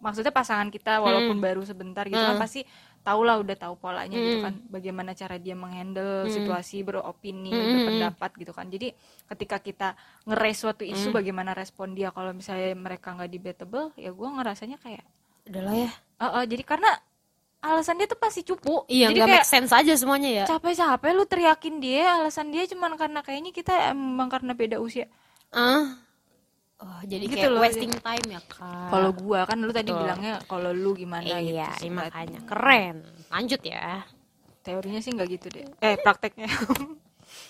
Speaker 2: maksudnya pasangan kita walaupun
Speaker 1: Hmm.
Speaker 2: baru sebentar gitu kan pasti tahulah udah tahu polanya gitu
Speaker 1: Hmm.
Speaker 2: kan bagaimana cara dia menghandle situasi beropini
Speaker 1: Hmm.
Speaker 2: berpendapat gitu kan jadi ketika kita ngeres suatu isu
Speaker 1: Hmm.
Speaker 2: bagaimana respon dia kalau misalnya mereka nggak debatable ya gue ngerasanya kayak
Speaker 1: Udahlah ya.
Speaker 2: eh eh, jadi karena alasan dia tuh pasti cupu
Speaker 1: Iya,
Speaker 2: jadi
Speaker 1: nggak
Speaker 2: kayak
Speaker 1: make sense aja semuanya ya.
Speaker 2: capek-capek lu teriakin dia alasan dia cuman karena kayaknya kita emang karena beda usia
Speaker 1: Ah. Oh, jadi
Speaker 2: Gitu
Speaker 1: kayak
Speaker 2: loh,
Speaker 1: wasting time ya, Kak.
Speaker 2: kalau gua kan lu tadi
Speaker 1: Betul.
Speaker 2: bilangnya kalau lu gimana gitu
Speaker 1: iya,
Speaker 2: sih,
Speaker 1: iya,
Speaker 2: Mbak.
Speaker 1: makanya keren. Lanjut ya.
Speaker 2: teorinya sih nggak gitu deh eh prakteknya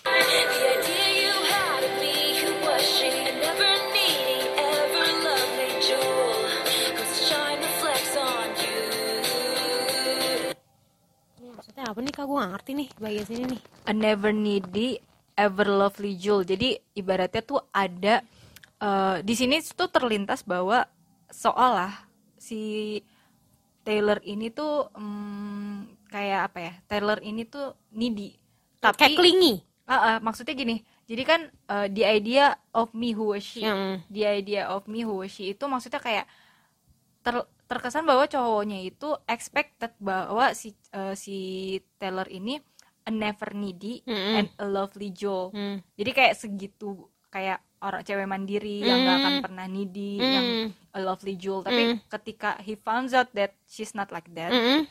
Speaker 3: The idea you had of me, you blushing and ever needing, ever lovely jewel, whose shine reflects on you.
Speaker 1: Ini Maksudnya apa nih, Kak? Gue nggak ngerti nih bagian sini nih.
Speaker 2: a never needy ever lovely jewel jadi ibaratnya tuh ada eh, di sini tuh terlintas bahwa seolah si Taylor ini tuh mm, kayak apa ya Taylor ini tuh needy tapi
Speaker 1: Kayak klingi.
Speaker 2: Ah, ah, maksudnya gini, jadi kan eh, the idea of me who was she,
Speaker 1: Hmm.
Speaker 2: the idea of me who was she itu maksudnya kayak ter- terkesan bahwa cowoknya itu expected bahwa si eh, si Taylor ini a never needy
Speaker 1: Mm-mm.
Speaker 2: and a lovely Joe.
Speaker 1: Hmm.
Speaker 2: Jadi kayak segitu kayak orang cewek mandiri yang gak akan pernah needy,
Speaker 1: Mm.
Speaker 2: yang a lovely Joe. Tapi
Speaker 1: Mm.
Speaker 2: ketika he found out that she's not like that,
Speaker 1: Mm-mm.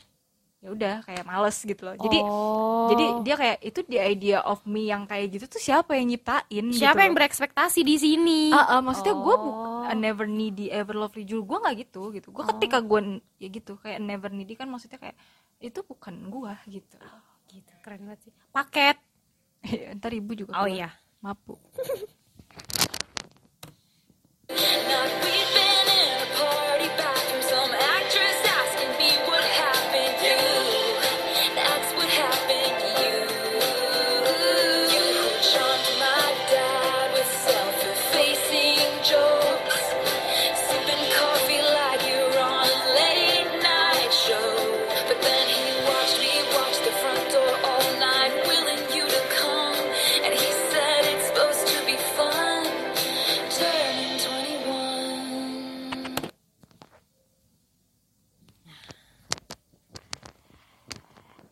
Speaker 2: ya udah kayak males gitu loh. Jadi
Speaker 1: Oh.
Speaker 2: jadi dia kayak itu the idea of me yang kayak gitu tuh siapa yang nyiptain?
Speaker 1: siapa yang
Speaker 2: gitu.
Speaker 1: berekspektasi di sini?
Speaker 2: Ah, ah, maksudnya gue
Speaker 1: Oh.
Speaker 2: never needy ever lovely Jul gue nggak gitu gitu. Gue ketika gue ya gitu kayak never needy kan maksudnya kayak itu bukan gue gitu.
Speaker 1: gitu, keren banget sih. Paket.
Speaker 2: Ntar ibu juga.
Speaker 1: Oh iya.
Speaker 2: keluar. Mapu.
Speaker 3: Not we've been in a party bathroom. Some actress asking me what happened to you. That's what happened to you. You charmed my dad with self-effacing jokes, sipping coffee like you're on a late night show. But then he watched me watch the front door all night, willing you to come, and he said it's supposed to be fun. Turning 21.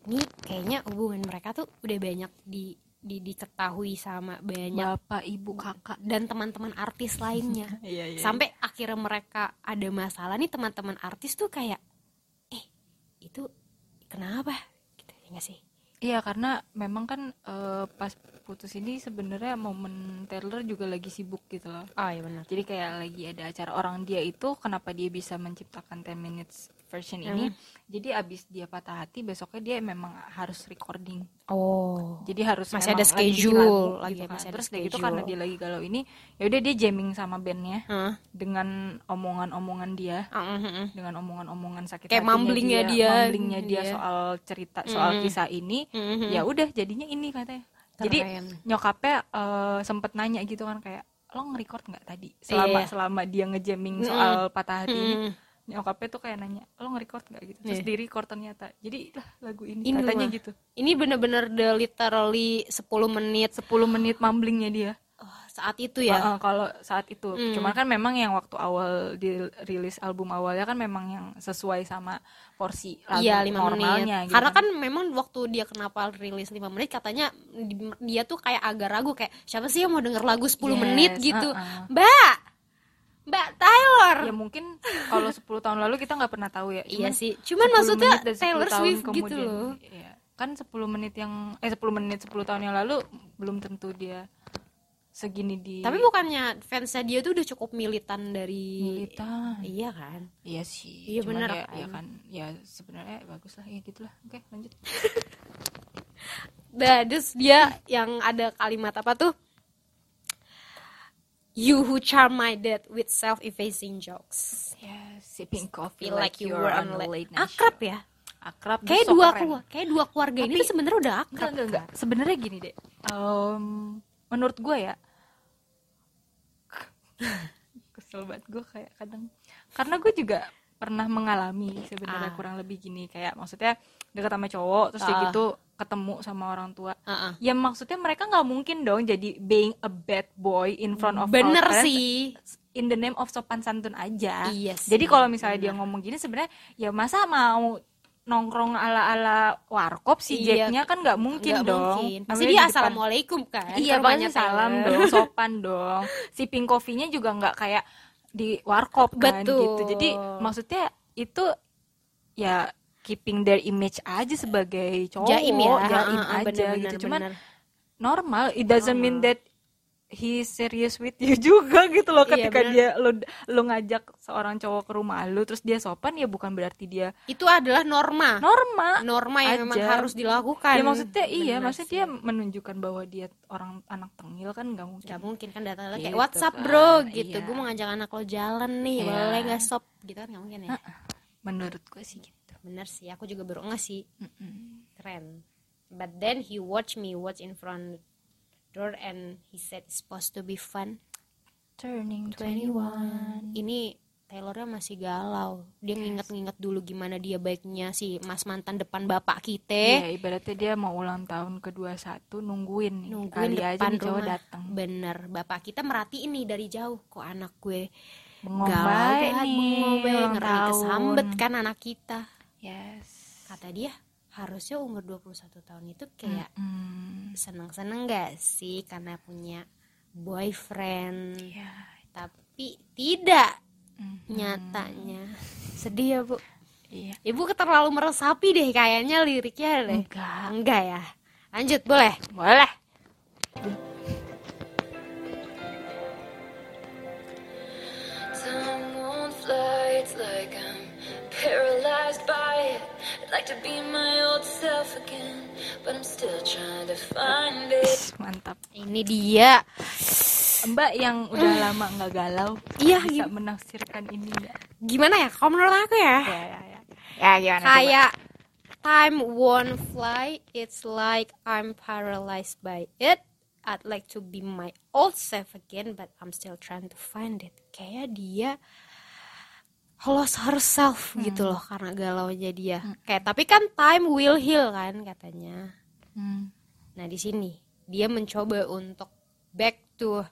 Speaker 1: Ini kayaknya hubungan mereka tuh udah banyak di, di diketahui sama banyak
Speaker 2: Bapak ibu kakak.
Speaker 1: dan teman-teman artis lainnya.
Speaker 2: Iya iya.
Speaker 1: Sampai akhirnya mereka ada masalah nih teman-teman artis tuh kayak eh itu kenapa? Gitu ya nggak sih?
Speaker 2: Iya karena memang kan eh, pas putus ini sebenarnya momen Taylor juga lagi sibuk gitu loh.
Speaker 1: Oh iya benar.
Speaker 2: Jadi kayak lagi ada acara orang dia itu kenapa dia bisa menciptakan 10 minutes version ini? Jadi abis dia patah hati besoknya dia memang harus recording.
Speaker 1: Oh.
Speaker 2: Jadi harus
Speaker 1: Masih
Speaker 2: memang
Speaker 1: ada
Speaker 2: lagi
Speaker 1: schedule,
Speaker 2: bikin lagu
Speaker 1: lagi
Speaker 2: gitu kan.
Speaker 1: masih ada
Speaker 2: Terus kayak gitu
Speaker 1: schedule.
Speaker 2: karena dia lagi galau ini, ya udah dia jamming sama bandnya
Speaker 1: Heeh.
Speaker 2: dengan omongan-omongan dia, dengan omongan-omongan sakit
Speaker 1: Kayak
Speaker 2: hatinya
Speaker 1: mumblingnya dia,
Speaker 2: mumblingnya dia
Speaker 1: iya.
Speaker 2: soal cerita soal kisah ini. Ya udah jadinya ini katanya. Jadi
Speaker 1: Keren.
Speaker 2: nyokapnya eh, sempet nanya gitu kan kayak lo nge-record nggak tadi selama
Speaker 1: Iya.
Speaker 2: selama dia ngejamming soal patah hati ini nyokapnya tuh kayak nanya lo nge-record nggak gitu terus
Speaker 1: Iya.
Speaker 2: di record ternyata jadi lah lagu ini,
Speaker 1: Ini
Speaker 2: katanya
Speaker 1: mah.
Speaker 2: gitu
Speaker 1: Ini bener-bener the literally 10 menit
Speaker 2: 10 menit mumblingnya dia
Speaker 1: oh, saat itu ya.
Speaker 2: Uh-uh, kalau saat itu
Speaker 1: Hmm.
Speaker 2: cuman kan memang yang waktu awal dirilis album awalnya kan memang yang sesuai sama porsi lagu
Speaker 1: Iya lima
Speaker 2: normalnya
Speaker 1: menit.
Speaker 2: gitu
Speaker 1: Karena kan memang waktu dia kenapa rilis 5 menit katanya di- dia tuh kayak agak ragu kayak siapa sih yang mau denger lagu 10
Speaker 2: Yes,
Speaker 1: menit gitu.
Speaker 2: uh-uh.
Speaker 1: Mbak, Mbak Taylor.
Speaker 2: ya mungkin kalau 10 tahun lalu kita nggak pernah tahu ya
Speaker 1: kan- iya
Speaker 2: Cuman
Speaker 1: sih. Cuman
Speaker 2: 10
Speaker 1: maksudnya
Speaker 2: menit dan 10
Speaker 1: Taylor
Speaker 2: tahun
Speaker 1: Swift gitu
Speaker 2: kemudian.
Speaker 1: loh.
Speaker 2: Iya. kan 10 menit yang eh 10 menit 10 tahun yang lalu belum tentu dia segini di
Speaker 1: Tapi bukannya fansnya dia tuh udah cukup militan dari
Speaker 2: militan
Speaker 1: Iya kan?
Speaker 2: iya sih
Speaker 1: Iya,
Speaker 2: Cuman
Speaker 1: benar
Speaker 2: ya,
Speaker 1: kan.
Speaker 2: ya kan ya sebenarnya bagus lah ya gitulah oke lanjut
Speaker 1: Nah, terus dia yang ada kalimat apa tuh? You who charm my dad with self-effacing jokes.
Speaker 2: ya sipping coffee
Speaker 1: Feel like you were on a late night.
Speaker 2: show.
Speaker 1: Akrab ya?
Speaker 2: akrab
Speaker 1: kayak
Speaker 2: besok
Speaker 1: dua
Speaker 2: keren.
Speaker 1: keluarga, kayak dua keluarga ini
Speaker 2: Tapi-
Speaker 1: tuh sebenarnya udah
Speaker 2: enggak
Speaker 1: akrab. kan?
Speaker 2: enggak enggak sebenarnya gini deh Em, menurut gue ya kesel banget gue kayak kadang karena gue juga pernah mengalami sebenarnya
Speaker 1: Ah.
Speaker 2: kurang lebih gini kayak maksudnya dekat sama cowok terus kayak
Speaker 1: Ah.
Speaker 2: gitu ketemu sama orang tua
Speaker 1: Heeh.
Speaker 2: ya maksudnya mereka nggak mungkin dong jadi being a bad boy in front of
Speaker 1: Bener
Speaker 2: our parents
Speaker 1: sih.
Speaker 2: in the name of sopan santun aja
Speaker 1: Iya sih,
Speaker 2: jadi kalau misalnya dia ngomong gini sebenarnya ya masa mau nongkrong ala ala warkop si
Speaker 1: Iya.
Speaker 2: Jacknya kan nggak mungkin
Speaker 1: Nggak
Speaker 2: dong
Speaker 1: mungkin. Pasti
Speaker 2: Namanya
Speaker 1: dia
Speaker 2: di depan-
Speaker 1: assalamualaikum kan. Oh. Ke
Speaker 2: iya
Speaker 1: rumahnya
Speaker 2: banyak salam
Speaker 1: Taylor.
Speaker 2: dong sopan dong si pink coffee-nya juga nggak kayak di warkop kan
Speaker 1: Betul.
Speaker 2: gitu jadi maksudnya itu ya keeping their image aja sebagai cowok
Speaker 1: Jaim ya.
Speaker 2: jaim
Speaker 1: Heeh, bener,
Speaker 2: aja
Speaker 1: bener,
Speaker 2: gitu cuman
Speaker 1: bener.
Speaker 2: normal it doesn't mean that he serious with you juga gitu loh
Speaker 1: Iya,
Speaker 2: ketika
Speaker 1: benar.
Speaker 2: dia lo lo ngajak seorang cowok ke rumah lu terus dia sopan ya bukan berarti dia
Speaker 1: itu adalah norma.
Speaker 2: normal
Speaker 1: Norma yang ya, memang
Speaker 2: aja.
Speaker 1: harus dilakukan.
Speaker 2: ya maksudnya iya
Speaker 1: Bener
Speaker 2: maksudnya
Speaker 1: sih.
Speaker 2: dia menunjukkan bahwa dia orang anak tengil kan nggak mungkin
Speaker 1: Gak mungkin kan datang kayak
Speaker 2: Gitu
Speaker 1: WhatsApp
Speaker 2: kan,
Speaker 1: bro gitu.
Speaker 2: iya.
Speaker 1: Gue mau ngajak anak lo jalan nih,
Speaker 2: Iya.
Speaker 1: boleh nggak stop gitu kan gak mungkin ya.
Speaker 2: menurut gue sih gitu
Speaker 1: Bener sih, aku juga baru nge sih. Keren. But then he watched me watch in front door and he said it's supposed to be fun.
Speaker 2: turning 21
Speaker 1: 21. Ini Taylornya masih galau. Dia nginget-nginget dulu gimana dia baiknya si mas mantan depan bapak kita.
Speaker 2: Iya, ibaratnya dia mau ulang tahun ke 21 nungguin nih.
Speaker 1: Nungguin
Speaker 2: Kali aja
Speaker 1: depan
Speaker 2: nih cowok
Speaker 1: rumah.
Speaker 2: datang.
Speaker 1: Bener, bapak kita merhatiin nih dari jauh. Kok anak gue
Speaker 2: Bengong
Speaker 1: galau
Speaker 2: baik
Speaker 1: banget,
Speaker 2: nih,
Speaker 1: bengong banget,
Speaker 2: ulang
Speaker 1: ngeri
Speaker 2: tahun.
Speaker 1: kesambet kan anak kita.
Speaker 2: Yes.
Speaker 1: Kata dia, harusnya umur 21 tahun itu kayak
Speaker 2: Hmm.
Speaker 1: seneng-seneng gak sih karena punya boyfriend
Speaker 2: Iya.
Speaker 1: tapi tidak
Speaker 2: Hmm.
Speaker 1: nyatanya sedih ya bu
Speaker 2: Iya.
Speaker 1: ibu terlalu meresapi deh kayaknya liriknya deh
Speaker 2: Enggak.
Speaker 1: enggak ya lanjut boleh
Speaker 2: Boleh.
Speaker 3: Time won't fly, it's like I'm paralyzed by it. I'd like to be my old self again, but I'm still trying to find it.
Speaker 2: Mantap.
Speaker 1: ini dia
Speaker 2: Mbak yang udah lama nggak galau,
Speaker 1: Iya,
Speaker 2: bisa menafsirkan ini nggak?
Speaker 1: gimana ya kalau menurut aku ya
Speaker 2: Ya, ya, ya.
Speaker 1: kayak time won't fly it's like I'm paralyzed by it I'd like to be my old self again but I'm still trying to find it kayak dia lost herself gitu loh karena galaunya dia kayak tapi kan time will heal kan katanya
Speaker 2: Hmm.
Speaker 1: nah di sini dia mencoba untuk back to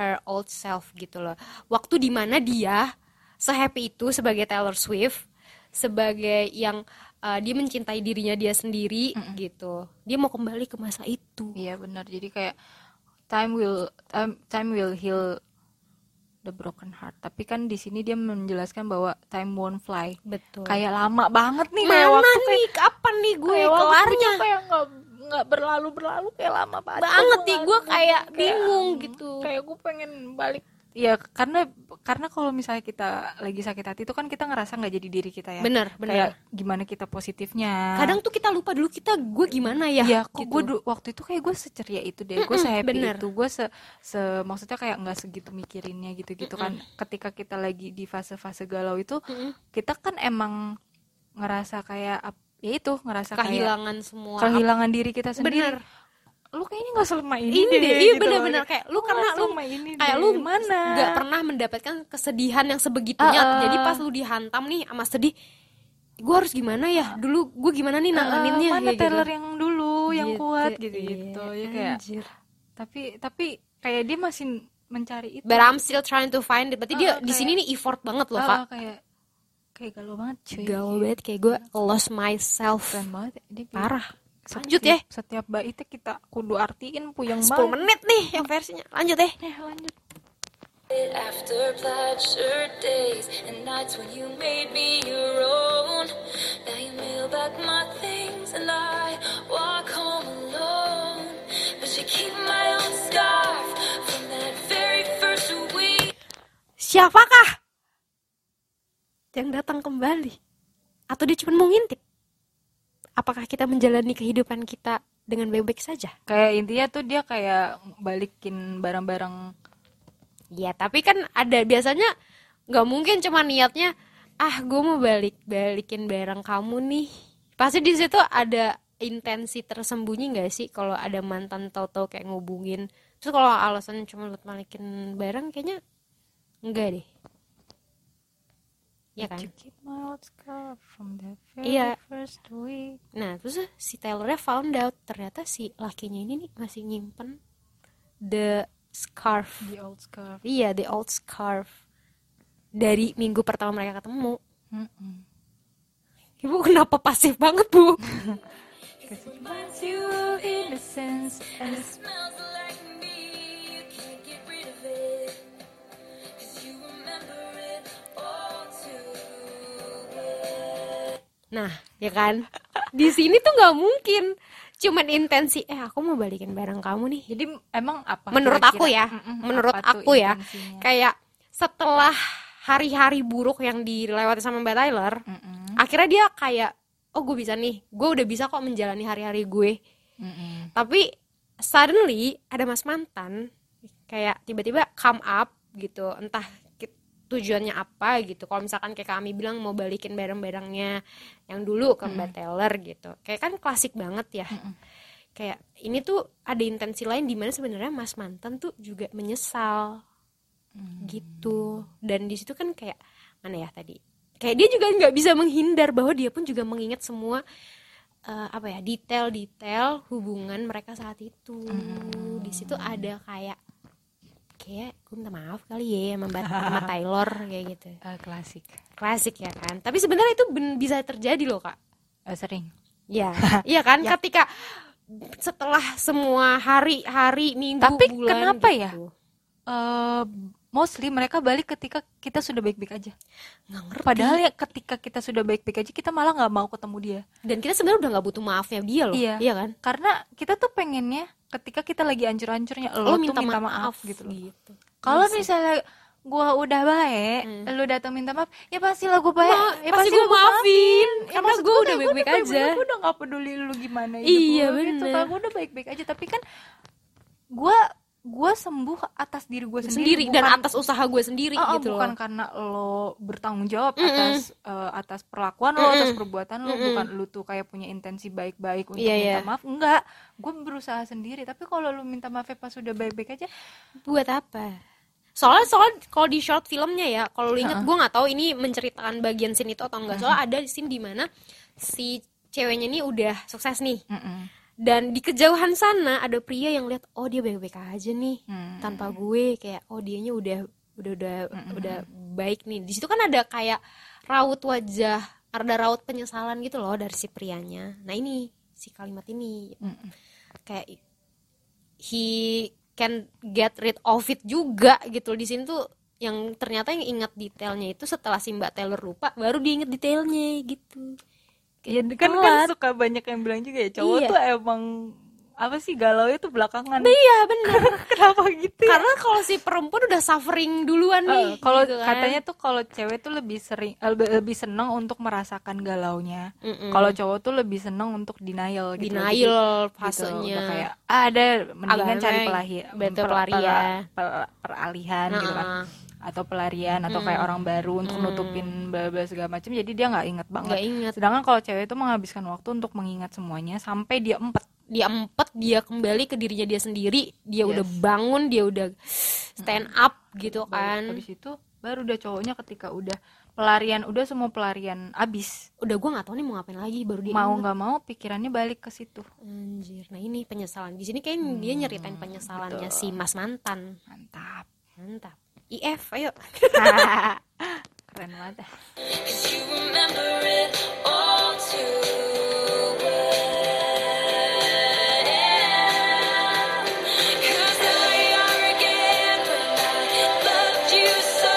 Speaker 1: her old self gitu loh waktu dimana dia sehappy itu sebagai Taylor Swift sebagai yang uh, dia mencintai dirinya dia sendiri gitu dia mau kembali ke masa itu
Speaker 2: Iya benar. Jadi kayak time will time, time will heal the broken heart. Tapi kan di sini dia menjelaskan bahwa time won't fly.
Speaker 1: betul kayak
Speaker 2: Kayak Hmm. lama banget nih kayak
Speaker 1: mana
Speaker 2: waktu kayak
Speaker 1: nih kapan nih gue
Speaker 2: kayak waktunya
Speaker 1: kelarnya
Speaker 2: kayak nggak nggak berlalu berlalu kayak lama banget.
Speaker 1: banget
Speaker 2: Gua
Speaker 1: nih
Speaker 2: nggak-
Speaker 1: gue kayak
Speaker 2: gitu. kayak,
Speaker 1: bingung
Speaker 2: um,
Speaker 1: gitu
Speaker 2: Kayak gue pengen balik. Ya karena karena kalau misalnya kita lagi sakit hati itu kan kita ngerasa nggak jadi diri kita ya.
Speaker 1: bener
Speaker 2: Kayak
Speaker 1: bener
Speaker 2: gimana kita positifnya.
Speaker 1: kadang tuh kita lupa dulu kita gue gimana ya
Speaker 2: ya kok
Speaker 1: gitu.
Speaker 2: gue du- waktu itu kayak gue seceria itu deh gue
Speaker 1: Mm-mm,
Speaker 2: sehappy
Speaker 1: bener.
Speaker 2: itu gue se, se- maksudnya kayak nggak segitu mikirinnya gitu gitu kan ketika kita lagi di fase-fase galau itu
Speaker 1: Mm-mm.
Speaker 2: kita kan emang ngerasa kayak ap- ya itu ngerasa kayak
Speaker 1: kehilangan semua
Speaker 2: kehilangan diri kita
Speaker 1: bener
Speaker 2: sendiri lu kayaknya nggak selama ini,
Speaker 1: ini deh iya
Speaker 2: gitu
Speaker 1: bener-bener
Speaker 2: loh.
Speaker 1: kayak lu
Speaker 2: nggak
Speaker 1: karena lu
Speaker 2: selama ini
Speaker 1: kayak
Speaker 2: deh.
Speaker 1: lu
Speaker 2: mana
Speaker 1: nggak pernah mendapatkan kesedihan yang sebegitunya
Speaker 2: Ah, ah.
Speaker 1: jadi pas lu dihantam nih sama sedih gue harus gimana ya dulu gue gimana nih nanganinnya
Speaker 2: Eh, mana
Speaker 1: kayak
Speaker 2: Taylor yang dulu yang
Speaker 1: Gitu,
Speaker 2: kuat
Speaker 1: iya,
Speaker 2: gitu gitu ya kayak
Speaker 1: anjir.
Speaker 2: tapi tapi kayak dia masih mencari itu
Speaker 1: But I'm still trying to find it. Berarti
Speaker 2: Ah,
Speaker 1: dia
Speaker 2: ah,
Speaker 1: di
Speaker 2: kayak-
Speaker 1: sini nih effort banget loh,
Speaker 2: Ah,
Speaker 1: Kak.
Speaker 2: ah, kayak kayak galau banget cuy Iya,
Speaker 1: Galau banget kayak gue lost myself.
Speaker 2: Keren banget dia bilang,
Speaker 1: Parah.
Speaker 2: setiap-
Speaker 1: Lanjut ya.
Speaker 2: setiap baitnya kita kudu artiin puyeng
Speaker 1: 10
Speaker 2: banget
Speaker 1: menit nih yang versinya. Lanjut deh.
Speaker 2: Eh, lanjut
Speaker 3: After pleasure days and nights when you made me your own, now you mail back my things and I walk home alone. But you keep my own scarf from that very first week.
Speaker 1: Siapakah yang datang kembali? Atau dia cuma mau ngintip? Apakah kita menjalani kehidupan kita dengan baik-baik saja?
Speaker 2: kayak intinya tuh dia kayak balikin barang-barang
Speaker 1: Ya, tapi kan ada biasanya nggak mungkin cuma niatnya ah gue mau balik balikin barang kamu nih. Pasti di situ ada intensi tersembunyi nggak sih kalau ada mantan tahu-tahu kayak ngubungin. Terus kalau alasan cuma buat balikin barang kayaknya enggak deh. Iya kan?
Speaker 2: To keep my old scarf from the very
Speaker 1: Iya.
Speaker 2: first week.
Speaker 1: Nah, terus si Taylornya found out ternyata si lakinya ini nih masih nyimpen the scarf.
Speaker 2: The old scarf.
Speaker 1: Iya, the old scarf dari minggu pertama mereka ketemu.
Speaker 2: Mm-mm.
Speaker 1: Ibu kenapa pasif banget, Bu?
Speaker 2: Cause it reminds you of innocence and
Speaker 3: It smells like me. You can't get rid of it. 'Cause you remember it all too well.
Speaker 1: Nah, ya kan? Di sini tuh nggak mungkin. Cuman intensi, eh aku mau balikin barang kamu nih.
Speaker 2: Jadi emang apa?
Speaker 1: Menurut
Speaker 2: kira-kira?
Speaker 1: aku ya,
Speaker 2: Mm-mm,
Speaker 1: menurut
Speaker 2: apa tuh
Speaker 1: aku ya,
Speaker 2: intensinya?
Speaker 1: kayak setelah hari-hari buruk yang dilewati sama Mbak Tyler,
Speaker 2: Mm-mm,
Speaker 1: akhirnya dia kayak, oh gue bisa nih, gue udah bisa kok menjalani hari-hari gue.
Speaker 2: mm-mm.
Speaker 1: Tapi suddenly ada mas mantan, kayak tiba-tiba come up gitu, entah ki- tujuannya apa gitu. Kalau misalkan kayak kami bilang mau balikin barang-barangnya yang dulu ke Mbak Taylor gitu, kayak kan klasik banget ya. Kayak ini tuh ada intensi lain di mana sebenarnya mas mantan tuh juga menyesal gitu dan di situ kan kayak mana ya tadi kayak dia juga nggak bisa menghindar bahwa dia pun juga mengingat semua eh, apa ya detail-detail hubungan mereka saat itu di situ ada kayak kayak gue minta maaf kali ya sama, Mbak- sama Taylor kayak gitu
Speaker 2: Eh, klasik.
Speaker 1: klasik ya kan tapi sebenarnya itu ben- bisa terjadi loh kak
Speaker 2: Eh, sering.
Speaker 1: ya iya kan ketika setelah semua hari-hari minggu
Speaker 2: Tapi
Speaker 1: bulan
Speaker 2: kenapa ya?
Speaker 1: gitu.
Speaker 2: Eh, mostly mereka balik ketika kita sudah baik-baik aja.
Speaker 1: nggak ngerti
Speaker 2: Padahal ya ketika kita sudah baik-baik aja kita malah nggak mau ketemu dia.
Speaker 1: dan kita sebenarnya udah nggak butuh maafnya dia loh
Speaker 2: Iya.
Speaker 1: kan
Speaker 2: Karena kita tuh pengennya ketika kita lagi ancur-ancurnya
Speaker 1: lo
Speaker 2: lo,
Speaker 1: minta,
Speaker 2: tuh minta
Speaker 1: maaf,
Speaker 2: maaf, gitu loh.
Speaker 1: gitu.
Speaker 2: Kalau misalnya gua udah baik,
Speaker 1: Hmm.
Speaker 2: lu datang minta maaf, ya pastilah gua baik.
Speaker 1: Ma-
Speaker 2: ya
Speaker 1: pasti gua
Speaker 2: gua
Speaker 1: maafin,
Speaker 2: Ya
Speaker 1: karena
Speaker 2: maksud
Speaker 1: gue udah
Speaker 2: gua
Speaker 1: baik-baik aja.
Speaker 2: Gue udah gak peduli lu gimana hidup
Speaker 1: Iya,
Speaker 2: gua gitu.
Speaker 1: bener.
Speaker 2: Kalau gua udah baik-baik aja, tapi kan gua gua sembuh atas diri gua
Speaker 1: sendiri
Speaker 2: sendiri,
Speaker 1: dan
Speaker 2: bukan-
Speaker 1: atas usaha gue sendiri
Speaker 2: Oh, oh,
Speaker 1: gitu
Speaker 2: bukan
Speaker 1: loh.
Speaker 2: karena lo bertanggung jawab
Speaker 1: Mm-mm.
Speaker 2: atas eh, atas perlakuan lo, atas
Speaker 1: Mm-mm.
Speaker 2: perbuatan lo,
Speaker 1: Mm-mm.
Speaker 2: bukan lu tuh kayak punya intensi baik-baik untuk
Speaker 1: Iya,
Speaker 2: minta
Speaker 1: iya.
Speaker 2: maaf. Enggak, gue berusaha sendiri. Tapi kalau lu minta maafnya pas sudah baik-baik aja,
Speaker 1: Buat apa? Soalnya soalnya kalau di short filmnya ya, kalau lu inget
Speaker 2: Ha-ha.
Speaker 1: gue nggak tahu ini menceritakan bagian scene itu atau enggak. Soalnya ada scene di mana si ceweknya ini udah sukses nih
Speaker 2: mm-mm.
Speaker 1: dan di kejauhan sana ada pria yang lihat oh dia baik-baik aja nih
Speaker 2: Hmm.
Speaker 1: tanpa gue kayak oh dianya udah udah udah udah baik nih di situ kan ada kayak raut wajah ada raut penyesalan gitu loh dari si prianya nah ini si kalimat ini
Speaker 2: Mm-mm.
Speaker 1: kayak he can get rid of it juga gitu di sini tuh yang ternyata yang ingat detailnya itu setelah si Mbak Taylor lupa baru diingat detailnya gitu
Speaker 2: Ya kan kan
Speaker 1: telat.
Speaker 2: suka banyak yang bilang juga ya cowok
Speaker 1: Iya.
Speaker 2: tuh emang apa sih galau itu belakangan.
Speaker 1: iya bener
Speaker 2: Kenapa gitu? ya?
Speaker 1: karena kalau si perempuan udah suffering duluan
Speaker 2: Eh,
Speaker 1: nih
Speaker 2: kalau
Speaker 1: gitu kan.
Speaker 2: katanya tuh kalau cewek tuh lebih sering eh, lebih lebih seneng untuk merasakan galaunya.
Speaker 1: Mm-mm.
Speaker 2: Kalau cowok tuh lebih seneng untuk denial gitu. Jadi,
Speaker 1: denial
Speaker 2: gitu,
Speaker 1: fasenya
Speaker 2: udah kayak ah, ada mendingan
Speaker 1: Agak
Speaker 2: cari
Speaker 1: aneh,
Speaker 2: pelahir
Speaker 1: betul pelarian.
Speaker 2: peralihan gitu kan
Speaker 1: Nah,
Speaker 2: atau pelarian atau kayak orang baru untuk nutupin bla bla segala macam. Jadi dia nggak inget banget.
Speaker 1: nggak inget
Speaker 2: Sedangkan kalau cewek itu menghabiskan waktu untuk mengingat semuanya sampai dia empat.
Speaker 1: dia empat dia kembali ke dirinya dia sendiri dia
Speaker 2: Yes.
Speaker 1: udah bangun dia udah stand up gitu kan
Speaker 2: Habis itu baru udah cowoknya ketika udah pelarian udah semua pelarian abis
Speaker 1: udah gua nggak tahu nih mau ngapain lagi baru dia
Speaker 2: mau
Speaker 1: ingat.
Speaker 2: nggak mau pikirannya balik ke situ
Speaker 1: anjir nah ini penyesalan di sini kayak dia nyeritain penyesalannya si mas mantan
Speaker 2: mantap
Speaker 1: mantap if ayo
Speaker 2: keren banget
Speaker 3: 'Cause you remember it all too well. 'Cause there we are again when I loved you so.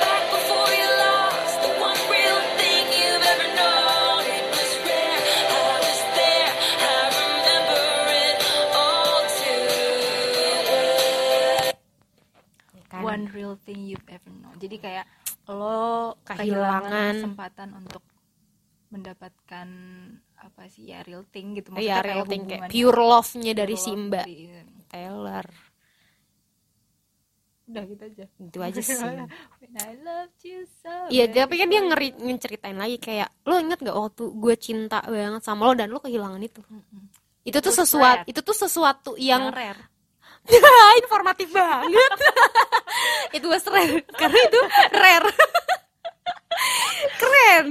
Speaker 3: Back before you lost the one real thing you've ever known. It was rare. I was there. I remember it all too well.
Speaker 1: Kan?
Speaker 2: one real thing you've ever known jadi kayak lo
Speaker 1: Kehilangan.
Speaker 2: kehilangan kesempatan untuk mendapatkan apa sih ya real thing gitu
Speaker 1: iya real thing
Speaker 2: hubungan
Speaker 1: kayak pure love-nya dari
Speaker 2: love
Speaker 1: si mbak
Speaker 2: di-
Speaker 1: Taylor
Speaker 2: udah gitu aja
Speaker 1: itu aja sih
Speaker 2: When I loved you so
Speaker 1: Iya,
Speaker 2: very
Speaker 1: tapi kan dia ngeri ngeceritain lagi kayak lo inget gak waktu gue cinta banget sama lo dan lo kehilangan itu. Itu tuh
Speaker 2: Itu
Speaker 1: sesuatu,
Speaker 2: rare.
Speaker 1: itu tuh sesuatu yang
Speaker 2: rare
Speaker 1: informatif banget. itu was rare karena itu rare. keren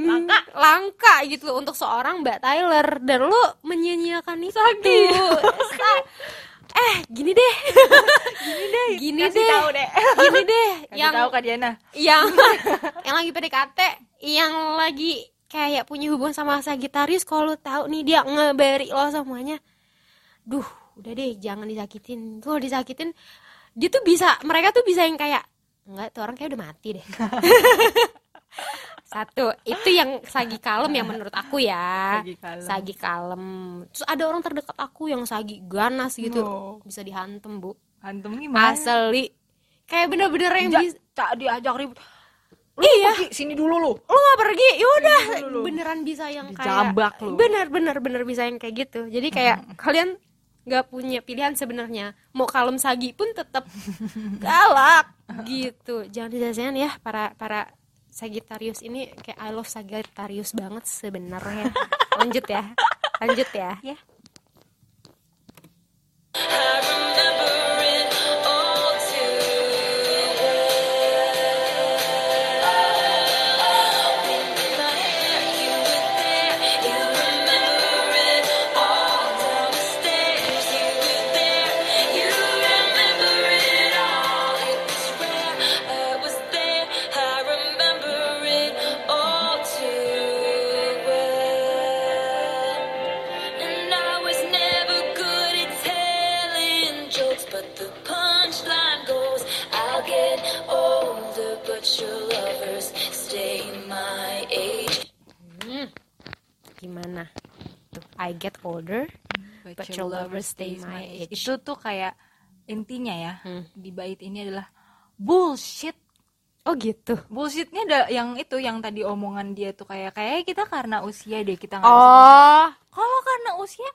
Speaker 1: langka. gitu loh untuk seorang Mbak Tyler dan lu menyanyiakan itu Sa- eh gini deh gini deh gini
Speaker 2: Kasih
Speaker 1: deh
Speaker 2: tahu deh.
Speaker 1: gini deh
Speaker 2: Kasih
Speaker 1: yang
Speaker 2: tahu Kak Diana.
Speaker 1: yang yang lagi PDKT yang lagi kayak punya hubungan sama Sagitarius kalau lu tahu nih dia ngeberi lo semuanya duh udah deh jangan disakitin tuh disakitin dia tuh bisa mereka tuh bisa yang kayak enggak tuh orang kayak udah mati deh satu itu yang sagi kalem yang menurut aku ya
Speaker 2: Sagi kalem.
Speaker 1: kalem. terus ada orang terdekat aku yang sagi ganas gitu
Speaker 2: No.
Speaker 1: bisa dihantem bu
Speaker 2: Hantum gimana?
Speaker 1: asli kayak bener-bener yang
Speaker 2: Ja-
Speaker 1: bisa
Speaker 2: tak diajak ribut.
Speaker 1: iya
Speaker 2: Pergi, sini dulu lu.
Speaker 1: lu gak pergi yaudah
Speaker 2: Iya, Dulu, lu.
Speaker 1: beneran bisa yang
Speaker 2: Dijambak
Speaker 1: kayak
Speaker 2: lu.
Speaker 1: bener bener bener bisa yang kayak gitu jadi kayak kalian nggak punya pilihan sebenarnya mau kalem sagi pun tetap galak gitu jangan disajian ya para para Sagittarius ini kayak I love Sagittarius banget sebenarnya lanjut ya lanjut ya
Speaker 3: I remember it all too well. When I had you were there, you remember it all down the stairs. You were there, you remember it all. It was rare, I was there. I remember it all too well. And I was never good at telling jokes, but the punchline goes I'll get older, but your lovers stay my age.
Speaker 1: gimana tuh I get older
Speaker 2: But,
Speaker 1: your lover stays my age.
Speaker 2: Itu tuh kayak intinya ya.
Speaker 1: Hmm.
Speaker 2: Di bait ini adalah bullshit.
Speaker 1: oh gitu
Speaker 2: Bullshitnya ada yang itu yang tadi omongan dia tuh kayak kayak kita karena usia deh kita nggak bisa
Speaker 1: oh
Speaker 2: kalau karena usia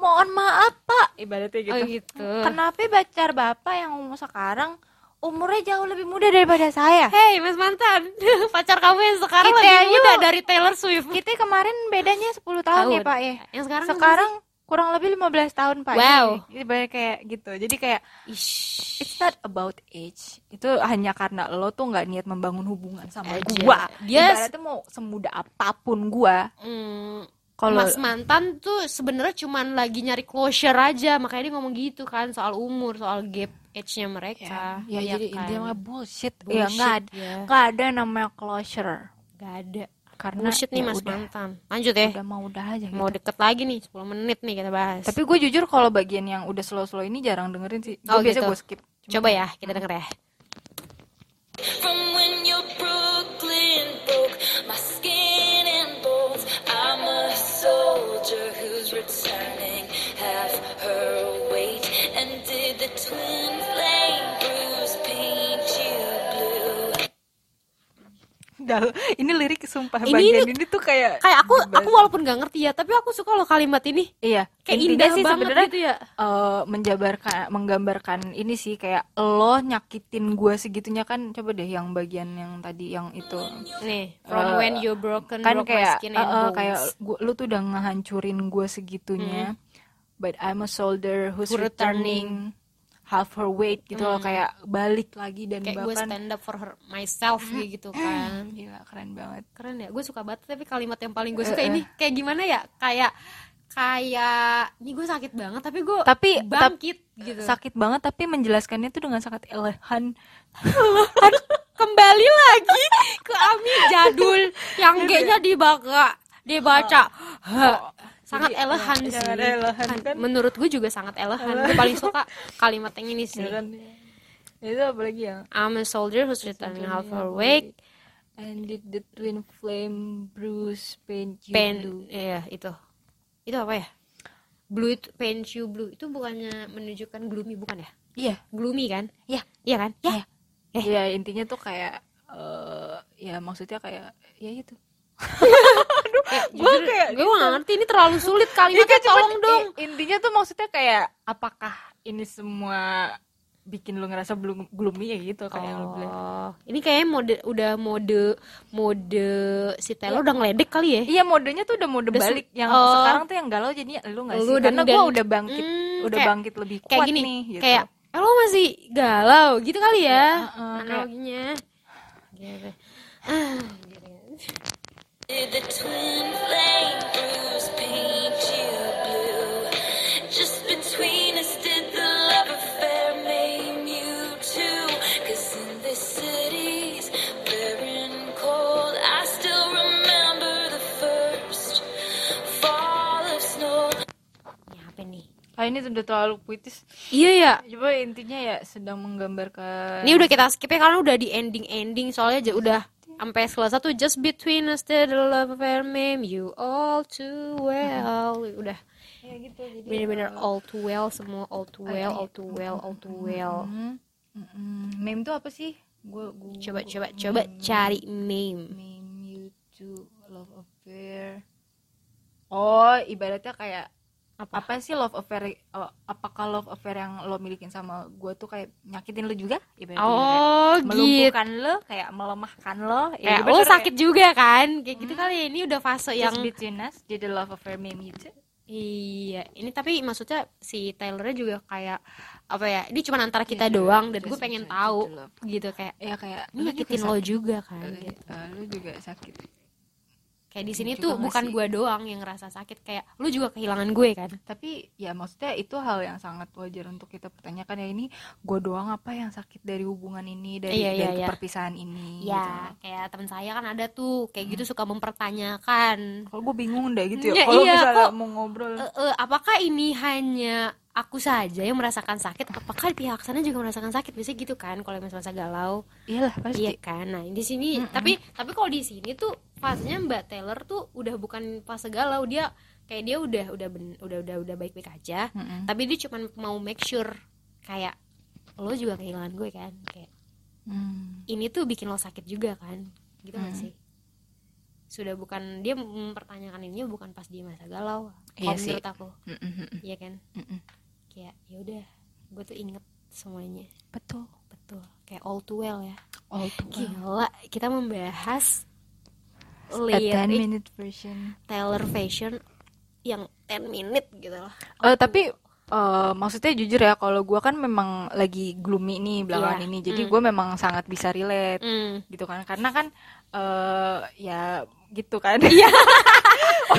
Speaker 2: mohon maaf pak ibaratnya gitu,
Speaker 1: Oh, gitu.
Speaker 2: kenapa pacar bapak yang umur sekarang umurnya jauh lebih muda daripada saya
Speaker 1: Hey Mas Mantan, pacar kamu yang sekarang
Speaker 2: Kita
Speaker 1: lebih
Speaker 2: yuk.
Speaker 1: muda dari Taylor Swift.
Speaker 2: kita kemarin bedanya 10 tahun, ya
Speaker 1: Tahun.
Speaker 2: pak ya
Speaker 1: Yang sekarang
Speaker 2: sekarang kurang lebih 15 tahun pak
Speaker 1: Wow.
Speaker 2: Jadi banyak kayak gitu jadi kayak
Speaker 1: Ish.
Speaker 2: it's not about age itu hanya karena lo tuh nggak niat membangun hubungan sama
Speaker 1: Aja.
Speaker 2: gua
Speaker 1: Dia-
Speaker 2: ibaratnya mau semudah apapun gua
Speaker 1: Hmm,
Speaker 2: kalau
Speaker 1: Mas Mantan tuh sebenarnya cuman lagi nyari closure aja, makanya dia ngomong gitu kan soal umur, soal gap age-nya mereka.
Speaker 2: ya,
Speaker 1: Iya
Speaker 2: jadi
Speaker 1: kan?
Speaker 2: intinya mah bullshit, ya
Speaker 1: Bullshit,
Speaker 2: nggak ada
Speaker 1: ya.
Speaker 2: nggak ada namanya closure
Speaker 1: Gak ada.
Speaker 2: karena
Speaker 1: Bullshit nih
Speaker 2: ya
Speaker 1: Mas
Speaker 2: udah,
Speaker 1: Mantan. Lanjut ya.
Speaker 2: udah mau udah aja
Speaker 1: Mau
Speaker 2: gitu.
Speaker 1: deket lagi nih 10 menit nih kita bahas.
Speaker 2: tapi gue jujur kalau bagian yang udah slow slow ini jarang dengerin sih gue
Speaker 1: Oh,
Speaker 2: biasa
Speaker 1: gitu.
Speaker 2: gue skip Cuma- Ah.
Speaker 1: Coba ya, kita denger ya.
Speaker 3: From when your Brooklyn broke my skin and bones, I'm a soldier who's returning half her weight. And did the twin flame bruise paint you blue?
Speaker 2: Dal- ini lirik sumpah
Speaker 1: Ini-
Speaker 2: bagian ini, tuh kayak
Speaker 1: Kayak aku
Speaker 2: Bas-
Speaker 1: aku walaupun gak ngerti ya, tapi aku suka loh kalimat ini.
Speaker 2: iya
Speaker 1: Kayak
Speaker 2: intinya
Speaker 1: indah sih
Speaker 2: sebenarnya
Speaker 1: sebenarnya gitu ya.
Speaker 2: eh, menjabarkan menggambarkan ini sih kayak lo nyakitin gue segitunya kan coba deh yang bagian yang tadi yang itu
Speaker 1: Nih, from
Speaker 2: Eh,
Speaker 1: when you broken
Speaker 2: kan
Speaker 1: broke my
Speaker 2: kayak
Speaker 1: skin
Speaker 2: eh,
Speaker 1: and
Speaker 2: eh,
Speaker 1: bones.
Speaker 2: kayak gua, lu tuh udah ngehancurin gue segitunya but I'm a soldier who's
Speaker 1: Who
Speaker 2: Hmm. returning
Speaker 1: returning.
Speaker 2: half her weight gitu loh kayak balik lagi dan
Speaker 1: kayak gue
Speaker 2: bahkan
Speaker 1: stand up for her, myself gitu kan
Speaker 2: gila keren banget
Speaker 1: keren ya gue suka banget tapi kalimat yang paling gue
Speaker 2: Eh,
Speaker 1: suka ini kayak gimana ya kayak kayak ini gue sakit banget tapi gue
Speaker 2: Tapi-
Speaker 1: bangkit gitu
Speaker 2: sakit banget tapi menjelaskannya tuh dengan sangat elegan
Speaker 1: Kan kembali lagi ke Ami jadul yang
Speaker 2: Iya,
Speaker 1: G-nya dibaca dibaca Hah. sangat
Speaker 2: Jadi,
Speaker 1: elehan
Speaker 2: ya,
Speaker 1: sih
Speaker 2: Oh. sangat elehan, kan?
Speaker 1: menurut gue juga sangat elehan gue paling suka kalimat yang ini sih
Speaker 2: ya kan itu apalagi ya? yang
Speaker 1: I'm a soldier who's returning half
Speaker 2: iya.
Speaker 1: her wake
Speaker 2: and did the twin flame bruise paint you blue?
Speaker 1: Paint, iya itu. Itu apa ya? Blue itu paint you blue itu bukannya menunjukkan gloomy bukan ya?
Speaker 2: iya
Speaker 1: Gloomy kan?
Speaker 2: Iya.
Speaker 1: Iya kan? Ya. Eh.
Speaker 2: ya intinya tuh kayak eh, ya maksudnya kayak ya itu Eh,
Speaker 1: Gue
Speaker 2: Gua kayak
Speaker 1: gue nggak ngerti ini terlalu sulit
Speaker 2: Iya
Speaker 1: kalimatnya
Speaker 2: kan, cuman
Speaker 1: tolong dong.
Speaker 2: i- Intinya tuh maksudnya kayak apakah ini semua bikin lu ngerasa belum gloomy ya gitu kayak yang lu bilang.
Speaker 1: Oh, ini kayaknya mode udah mode mode si Taylor udah ngeledek kali ya?
Speaker 2: Iya modenya tuh udah mode
Speaker 1: Udah se-
Speaker 2: balik yang
Speaker 1: oh.
Speaker 2: sekarang tuh yang galau jadinya lu nggak sih?
Speaker 1: Lu dan-
Speaker 2: Karena gua
Speaker 1: dan-
Speaker 2: udah bangkit,
Speaker 1: Hmm,
Speaker 2: udah
Speaker 1: kayak-
Speaker 2: bangkit lebih kuat
Speaker 1: Kayak gini,
Speaker 2: nih gitu.
Speaker 1: kayak eh, lo masih galau gitu kali ya?
Speaker 2: heeh, kayak-
Speaker 1: Analoginya. Gitu. Ah, gitu.
Speaker 3: Did the twin flame bruise paint you blue? Just between us, did the love affair maim you too? Cause in the cities, blaring cold, I still remember the first fall of snow.
Speaker 1: Ini apa nih?
Speaker 2: Ah ini udah terlalu puitis.
Speaker 1: Iya ya.
Speaker 2: Coba intinya ya sedang menggambarkan.
Speaker 1: Ini udah kita skip ya karena udah di ending-ending soalnya aja udah sampai selesai tuh just between us the love affair meme you all too well udah
Speaker 2: Ya gitu. Jadi
Speaker 1: bener-bener all too well semua all too well all too well all too well
Speaker 2: Hmm. ya? Mm-mm. Meme tuh apa sih? Gue gue
Speaker 1: coba coba coba cari meme
Speaker 2: meme you to love affair. Oh, ibaratnya kayak
Speaker 1: apa
Speaker 2: apa sih love affair? oh, apakah love affair yang lo milikin sama gue tuh kayak nyakitin lo juga? Ibaratnya kayak
Speaker 1: oh gitu
Speaker 2: melumpuhkan lo, kayak melemahkan lo. Ya,
Speaker 1: kayak
Speaker 2: bener
Speaker 1: lo
Speaker 2: Hmm.
Speaker 1: Iya, oh, sakit juga kan kayak gitu kali ya. ini udah fase
Speaker 2: Just
Speaker 1: yang
Speaker 2: between us, jadi love affair meme gitu." you two.
Speaker 1: Iya, ini tapi maksudnya si Taylornya juga kayak apa ya? Ini cuma antara
Speaker 2: Iya,
Speaker 1: kita doang dan gue
Speaker 2: just
Speaker 1: pengen
Speaker 2: between
Speaker 1: tahu
Speaker 2: us, love.
Speaker 1: gitu kayak
Speaker 2: Ya kayak
Speaker 1: ini nyakitin lo juga kan?
Speaker 2: sakit.
Speaker 1: gitu.
Speaker 2: Eh, Lo juga sakit.
Speaker 1: Kayak di sini
Speaker 2: juga
Speaker 1: tuh
Speaker 2: nggak
Speaker 1: bukan
Speaker 2: iya, sih?
Speaker 1: gue doang yang ngerasa sakit, kayak lu juga kehilangan gue kan?
Speaker 2: tapi ya maksudnya itu hal yang sangat wajar untuk kita pertanyakan ya ini gue doang apa yang sakit dari hubungan ini dari
Speaker 1: Iya, iya,
Speaker 2: dari
Speaker 1: iya.
Speaker 2: perpisahan ini
Speaker 1: Iya,
Speaker 2: gitu loh.
Speaker 1: kayak teman saya kan ada tuh kayak gitu
Speaker 2: Hmm.
Speaker 1: suka mempertanyakan,
Speaker 2: kalau gue bingung deh gitu
Speaker 1: Ya,
Speaker 2: ya, kalau
Speaker 1: iya,
Speaker 2: misalnya
Speaker 1: kok-
Speaker 2: mau ngobrol
Speaker 1: "Eh, eh, apakah ini hanya aku saja yang merasakan sakit? Apakah pihak sana juga merasakan sakit? Biasanya gitu kan? Kalau misalnya galau.
Speaker 2: iyalah pasti
Speaker 1: Iya kan. Nah, di sini tapi tapi kalau di sini tuh fasenya Mbak Taylor tuh udah bukan fase galau, dia kayak dia udah udah ben- udah udah udah baik-baik aja.
Speaker 2: Mm-mm.
Speaker 1: Tapi dia cuma mau make sure kayak lo juga kehilangan gue kan. Kayak
Speaker 2: Hmm.
Speaker 1: ini tuh bikin lo sakit juga kan. Gitu nggak sih? Sudah bukan dia mempertanyakan ini bukan pas dia masa galau.
Speaker 2: Iya
Speaker 1: Kalau
Speaker 2: sih.
Speaker 1: menurut aku,
Speaker 2: Mm-mm, mm-mm,
Speaker 1: iya kan?
Speaker 2: mm-mm.
Speaker 1: Kayak ya udah, gue tuh inget semuanya.
Speaker 2: betul
Speaker 1: Betul. Kayak all too well ya.
Speaker 2: all too well.
Speaker 1: Gila, kita membahas
Speaker 2: A 10
Speaker 1: lirik
Speaker 2: minute version
Speaker 1: Taylor Fashion yang 10 minute gitu loh.
Speaker 2: Eh, tapi eh, maksudnya jujur ya kalau gue kan memang lagi gloomy nih belakangan
Speaker 1: Iya.
Speaker 2: ini jadi
Speaker 1: Mm.
Speaker 2: gue memang sangat bisa relate
Speaker 1: Hmm.
Speaker 2: gitu kan karena kan eh ya gitu kan iya kan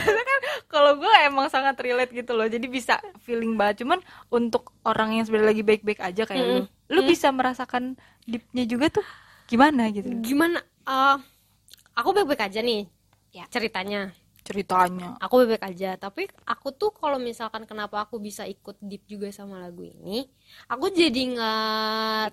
Speaker 2: kalau gue emang sangat relate gitu loh jadi bisa feeling banget cuman untuk orang yang sebenarnya lagi baik-baik aja kayak lu lu bisa merasakan deepnya juga tuh gimana gitu
Speaker 1: Gimana eh, aku baik-baik aja nih. Ya, ceritanya.
Speaker 2: ceritanya
Speaker 1: Aku baik-baik aja, tapi aku tuh kalau misalkan kenapa aku bisa ikut deep juga sama lagu ini, aku jadi nge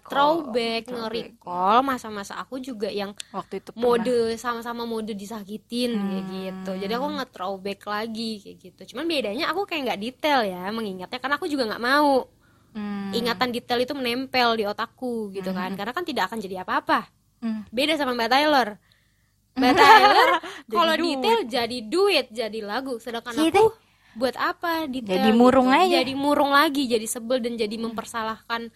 Speaker 1: throwback, nge recall masa-masa aku juga yang
Speaker 2: waktu itu pernah.
Speaker 1: mode sama-sama mode disakitin kayak gitu jadi aku nge throwback lagi kayak gitu cuman bedanya aku kayak nggak detail ya mengingatnya karena aku juga nggak mau
Speaker 2: Hmm.
Speaker 1: ingatan detail itu menempel di otakku gitu kan karena kan tidak akan jadi apa-apa
Speaker 2: Hmm.
Speaker 1: beda sama mbak Taylor mbak Taylor
Speaker 2: Jadi
Speaker 1: kalau
Speaker 2: duit.
Speaker 1: detail jadi duit jadi lagu sedangkan
Speaker 2: Gitu.
Speaker 1: aku buat apa detail
Speaker 2: Jadi murung
Speaker 1: gitu.
Speaker 2: aja.
Speaker 1: jadi murung lagi jadi sebel dan jadi mempersalahkan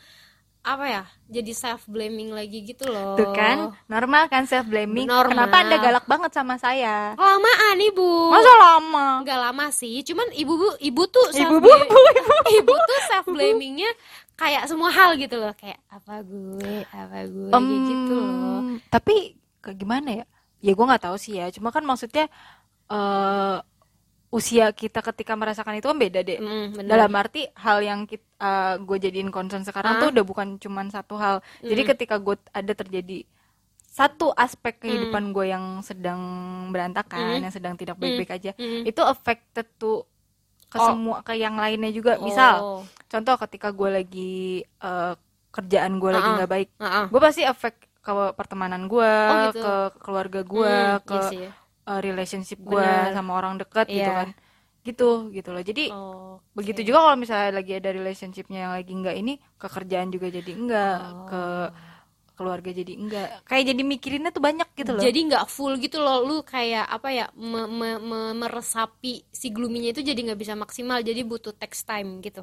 Speaker 1: apa ya jadi self blaming lagi gitu loh
Speaker 2: Tuh kan normal kan self blaming
Speaker 1: Normal.
Speaker 2: kenapa anda galak banget sama saya
Speaker 1: kelamaan ibu
Speaker 2: masa lama
Speaker 1: nggak lama sih cuman ibu bu ibu tuh
Speaker 2: ibu
Speaker 1: self
Speaker 2: bu
Speaker 1: bla-
Speaker 2: bu, ibu
Speaker 1: ibu tuh self blamingnya kayak semua hal gitu loh kayak apa gue apa gue kayak
Speaker 2: Em,
Speaker 1: gitu loh
Speaker 2: Tapi kayak gimana ya? Ya gue nggak tahu sih ya. Cuma kan maksudnya eh usia kita ketika merasakan itu kan beda deh.
Speaker 1: Mm, bener.
Speaker 2: Dalam arti hal yang kit- eh, gue jadiin concern sekarang tuh udah bukan cuman satu hal. Jadi ketika gue ada terjadi satu aspek kehidupan gue yang sedang berantakan, yang sedang tidak baik-baik aja,
Speaker 1: Mm. Mm.
Speaker 2: itu affected tuh ke semua ke yang lainnya juga. Misal,
Speaker 1: Oh.
Speaker 2: contoh ketika gue lagi eh, kerjaan gue lagi
Speaker 1: Ah-ah.
Speaker 2: nggak baik,
Speaker 1: Ah-ah.
Speaker 2: gue pasti efek ke pertemanan gue,
Speaker 1: Oh, gitu.
Speaker 2: ke keluarga gue,
Speaker 1: Hmm,
Speaker 2: ke
Speaker 1: iya sih.
Speaker 2: eh, relationship gue
Speaker 1: Benar.
Speaker 2: sama orang dekat gitu
Speaker 1: Iya.
Speaker 2: kan, gitu gitu loh. Jadi
Speaker 1: Oh.
Speaker 2: begitu juga kalau misalnya lagi ada relationshipnya yang lagi enggak ini, ke kerjaan juga jadi enggak,
Speaker 1: Oh.
Speaker 2: ke keluarga jadi enggak. Kayak jadi mikirinnya tuh banyak gitu loh.
Speaker 1: jadi nggak full gitu loh lu kayak apa ya me- me- me- meresapi si gluminya itu jadi nggak bisa maksimal jadi butuh text time gitu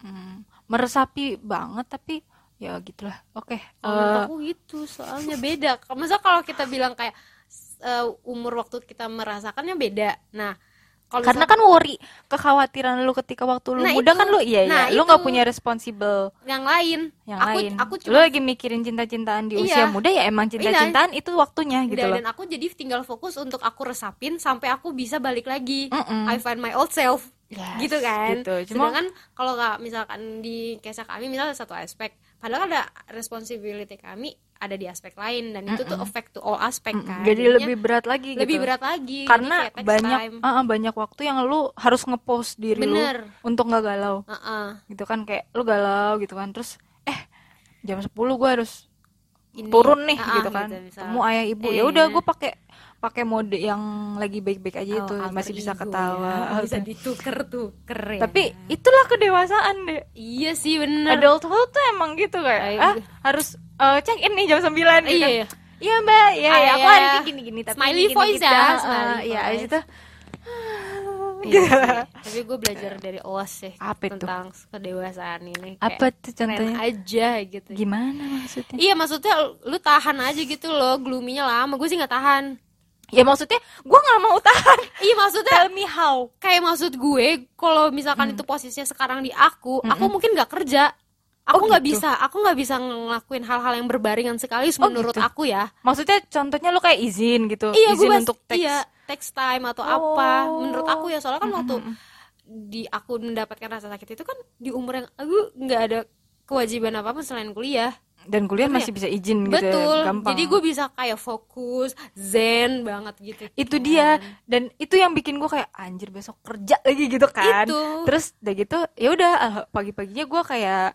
Speaker 2: Hmm, meresapi banget tapi ya gitulah. Oke.
Speaker 1: Kalau
Speaker 2: eh,
Speaker 1: menurut aku gitu soalnya beda masa kalau kita bilang kayak s- eh, umur waktu kita merasakannya beda nah Kalau
Speaker 2: Karena
Speaker 1: misal-
Speaker 2: kan worry, kekhawatiran lu ketika waktu lu
Speaker 1: Nah,
Speaker 2: muda
Speaker 1: itu.
Speaker 2: kan lu iya
Speaker 1: Nah,
Speaker 2: ya, lu nggak
Speaker 1: itu.
Speaker 2: punya responsible
Speaker 1: yang lain,
Speaker 2: kan yang
Speaker 1: aku
Speaker 2: lain.
Speaker 1: aku
Speaker 2: Lu
Speaker 1: cuma
Speaker 2: lagi mikirin cinta-cintaan di
Speaker 1: Iya.
Speaker 2: usia muda ya emang cinta-cintaan itu waktunya gitu
Speaker 1: dan,
Speaker 2: loh.
Speaker 1: dan aku jadi tinggal fokus untuk aku resapin sampai aku bisa balik lagi.
Speaker 2: Mm-mm.
Speaker 1: I find my old self.
Speaker 2: Yes,
Speaker 1: gitu kan.
Speaker 2: gitu. Cuma-
Speaker 1: Sedangkan kalau nggak misalkan di kisah kami misalnya satu aspek, padahal ada responsibility kami ada di aspek lain dan itu tuh affect to all aspek kan.
Speaker 2: Jadi
Speaker 1: Jadinya
Speaker 2: lebih berat lagi
Speaker 1: lebih
Speaker 2: gitu.
Speaker 1: berat lagi. Jadi
Speaker 2: Karena
Speaker 1: kayak takes
Speaker 2: banyak
Speaker 1: time.
Speaker 2: ah, ah, banyak waktu yang lu harus ngepost diri lu
Speaker 1: Bener.
Speaker 2: untuk nggak galau.
Speaker 1: Heeh.
Speaker 2: Gitu kan kayak lu galau gitu kan. Terus eh jam 10 gua harus
Speaker 1: Ini,
Speaker 2: turun nih
Speaker 1: ah,
Speaker 2: gitu kan
Speaker 1: misal.
Speaker 2: temu ayah ibu
Speaker 1: Iya.
Speaker 2: ya udah gue pakai pakai mode yang lagi baik-baik aja
Speaker 1: Oh,
Speaker 2: itu
Speaker 1: alter
Speaker 2: masih bisa
Speaker 1: ego
Speaker 2: ketawa
Speaker 1: ya. bisa dituker-tuker ya.
Speaker 2: tapi itulah kedewasaan deh
Speaker 1: iya sih bener
Speaker 2: adulthood tuh emang gitu kayak
Speaker 1: Ayo,
Speaker 2: ah harus eh, check in nih jam 9 gitu
Speaker 1: Iya,
Speaker 2: kan.
Speaker 1: iya.
Speaker 2: iya mbak ya,
Speaker 1: Ah,
Speaker 2: ya, aku
Speaker 1: iya.
Speaker 2: hari ini gini-gini tapi
Speaker 1: Smiley
Speaker 2: gini
Speaker 1: voice
Speaker 2: kita,
Speaker 1: ya,
Speaker 2: eh,
Speaker 1: smiley
Speaker 2: iya
Speaker 1: voice.
Speaker 2: abis itu
Speaker 1: Iya sih. tapi gue belajar dari Oas sih
Speaker 2: Apa itu?
Speaker 1: tentang kedewasaan ini Kayak
Speaker 2: apa tuh
Speaker 1: keren
Speaker 2: contohnya
Speaker 1: aja gitu
Speaker 2: gimana maksudnya
Speaker 1: iya maksudnya lu tahan aja gitu loh gloominya lama gue sih nggak tahan
Speaker 2: ya maksudnya gue nggak mau tahan
Speaker 1: iya maksudnya
Speaker 2: tell me how Hmm.
Speaker 1: kayak maksud gue kalau misalkan itu posisinya sekarang di aku aku mungkin nggak kerja aku
Speaker 2: Oh,
Speaker 1: nggak
Speaker 2: gitu.
Speaker 1: bisa aku nggak bisa ngelakuin hal-hal yang berbarengan sekali
Speaker 2: Oh,
Speaker 1: menurut
Speaker 2: gitu.
Speaker 1: aku ya
Speaker 2: maksudnya contohnya lu kayak izin gitu
Speaker 1: iya gue
Speaker 2: izin
Speaker 1: bas-
Speaker 2: untuk teks Hmm,
Speaker 1: iya text time atau
Speaker 2: Oh.
Speaker 1: apa menurut aku ya soalnya kan waktu di aku mendapatkan rasa sakit itu kan di umur yang aku nggak ada kewajiban apa apa selain kuliah
Speaker 2: dan kuliah
Speaker 1: Bener ya?
Speaker 2: masih bisa izin gitu ya,
Speaker 1: betul
Speaker 2: gampang.
Speaker 1: jadi gue bisa kayak fokus zen banget gitu
Speaker 2: itu dia dan itu yang bikin gue kayak anjir besok kerja lagi gitu kan
Speaker 1: Itu.
Speaker 2: terus udah gitu ya udah al- pagi-paginya gue kayak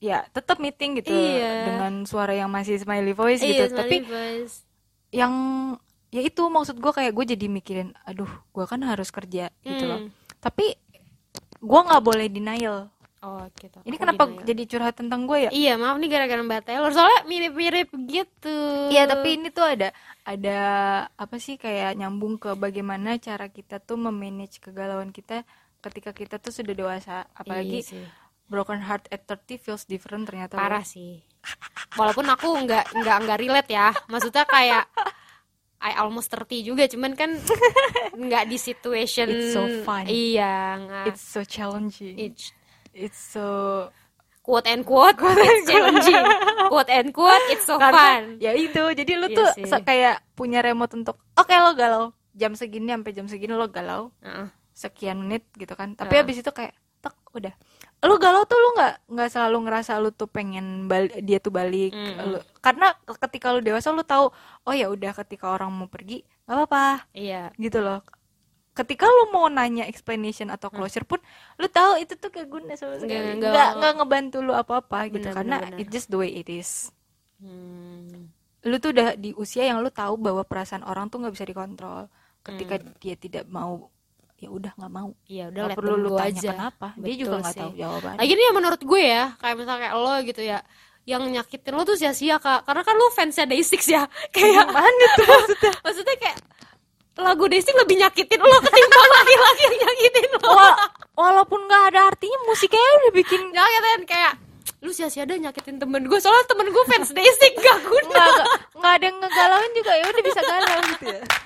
Speaker 2: ya tetap meeting gitu
Speaker 1: Iya.
Speaker 2: dengan suara yang masih smiley voice
Speaker 1: Iya,
Speaker 2: gitu tapi
Speaker 1: smiley face.
Speaker 2: yang ya itu maksud gue kayak gue jadi mikirin aduh gue kan harus kerja gitu
Speaker 1: Hmm.
Speaker 2: loh tapi gue nggak boleh denial
Speaker 1: oh gitu
Speaker 2: ini
Speaker 1: Aku
Speaker 2: kenapa
Speaker 1: denial.
Speaker 2: jadi curhat tentang gue ya
Speaker 1: iya maaf nih gara-gara mbak Taylor soalnya mirip-mirip gitu
Speaker 2: Iya, tapi ini tuh ada ada apa sih kayak nyambung ke bagaimana cara kita tuh memanage kegalauan kita ketika kita tuh sudah dewasa. Apalagi
Speaker 1: Iya sih.
Speaker 2: broken heart at 30 feels different ternyata. loh.
Speaker 1: parah sih walaupun aku nggak nggak nggak relate ya maksudnya kayak I almost 30 juga cuman kan nggak di situation
Speaker 2: It's so fun.
Speaker 1: iya nggak
Speaker 2: It's so challenging.
Speaker 1: it's
Speaker 2: It's so
Speaker 1: quote and quote, it's challenging quote and quote it's so
Speaker 2: Karena-
Speaker 1: Oh, fun
Speaker 2: ya itu. Jadi lu
Speaker 1: Iya
Speaker 2: tuh
Speaker 1: sih.
Speaker 2: se- kayak punya remote untuk oke lo galau jam segini sampai jam segini lo galau
Speaker 1: Heeh.
Speaker 2: sekian menit gitu kan. Tapi
Speaker 1: Ah.
Speaker 2: abis itu kayak tek udah. Lu galau tuh lu nggak nggak selalu ngerasa lu tuh pengen bal- dia tuh balik.
Speaker 1: Mm.
Speaker 2: Lu- karena ketika lu dewasa lu tahu oh ya udah ketika orang mau pergi nggak apa-apa
Speaker 1: iya
Speaker 2: gitu loh. Ketika lu mau nanya explanation atau closure pun lu tahu itu tuh gak guna sama
Speaker 1: Hmm. Nggak-
Speaker 2: sekali.
Speaker 1: nggak-
Speaker 2: Nggak nggak ngebantu lu apa-apa gitu
Speaker 1: Benar,
Speaker 2: karena
Speaker 1: benar, benar.
Speaker 2: it's just the way it is.
Speaker 1: Hmm.
Speaker 2: Lu tuh udah di usia yang lu tahu bahwa perasaan orang tuh nggak bisa dikontrol. Ketika
Speaker 1: Hmm.
Speaker 2: dia tidak mau ya udah nggak mau
Speaker 1: Iya udah
Speaker 2: udah
Speaker 1: let
Speaker 2: perlu
Speaker 1: them
Speaker 2: lu
Speaker 1: go
Speaker 2: tanya
Speaker 1: aja.
Speaker 2: kenapa dia
Speaker 1: Betul
Speaker 2: juga nggak
Speaker 1: sih.
Speaker 2: tahu jawaban
Speaker 1: Lagi nih ya menurut gue ya, kayak misalnya kayak lo gitu ya, yang nyakitin lo tuh sia-sia kak, karena kan lo fansnya Day6 ya, kayak
Speaker 2: Gimana tuh maksudnya
Speaker 1: maksudnya kayak lagu Day6 lebih nyakitin lo ketimbang laki-laki yang nyakitin lo.
Speaker 2: Wa- walaupun nggak ada artinya musiknya udah bikin
Speaker 1: Nyakitin kayak lu sia-sia deh nyakitin temen gue, soalnya temen gue fans Day6 gak guna.
Speaker 2: nggak nggak- nggak ada yang ngegalauin juga ya udah bisa galau gitu ya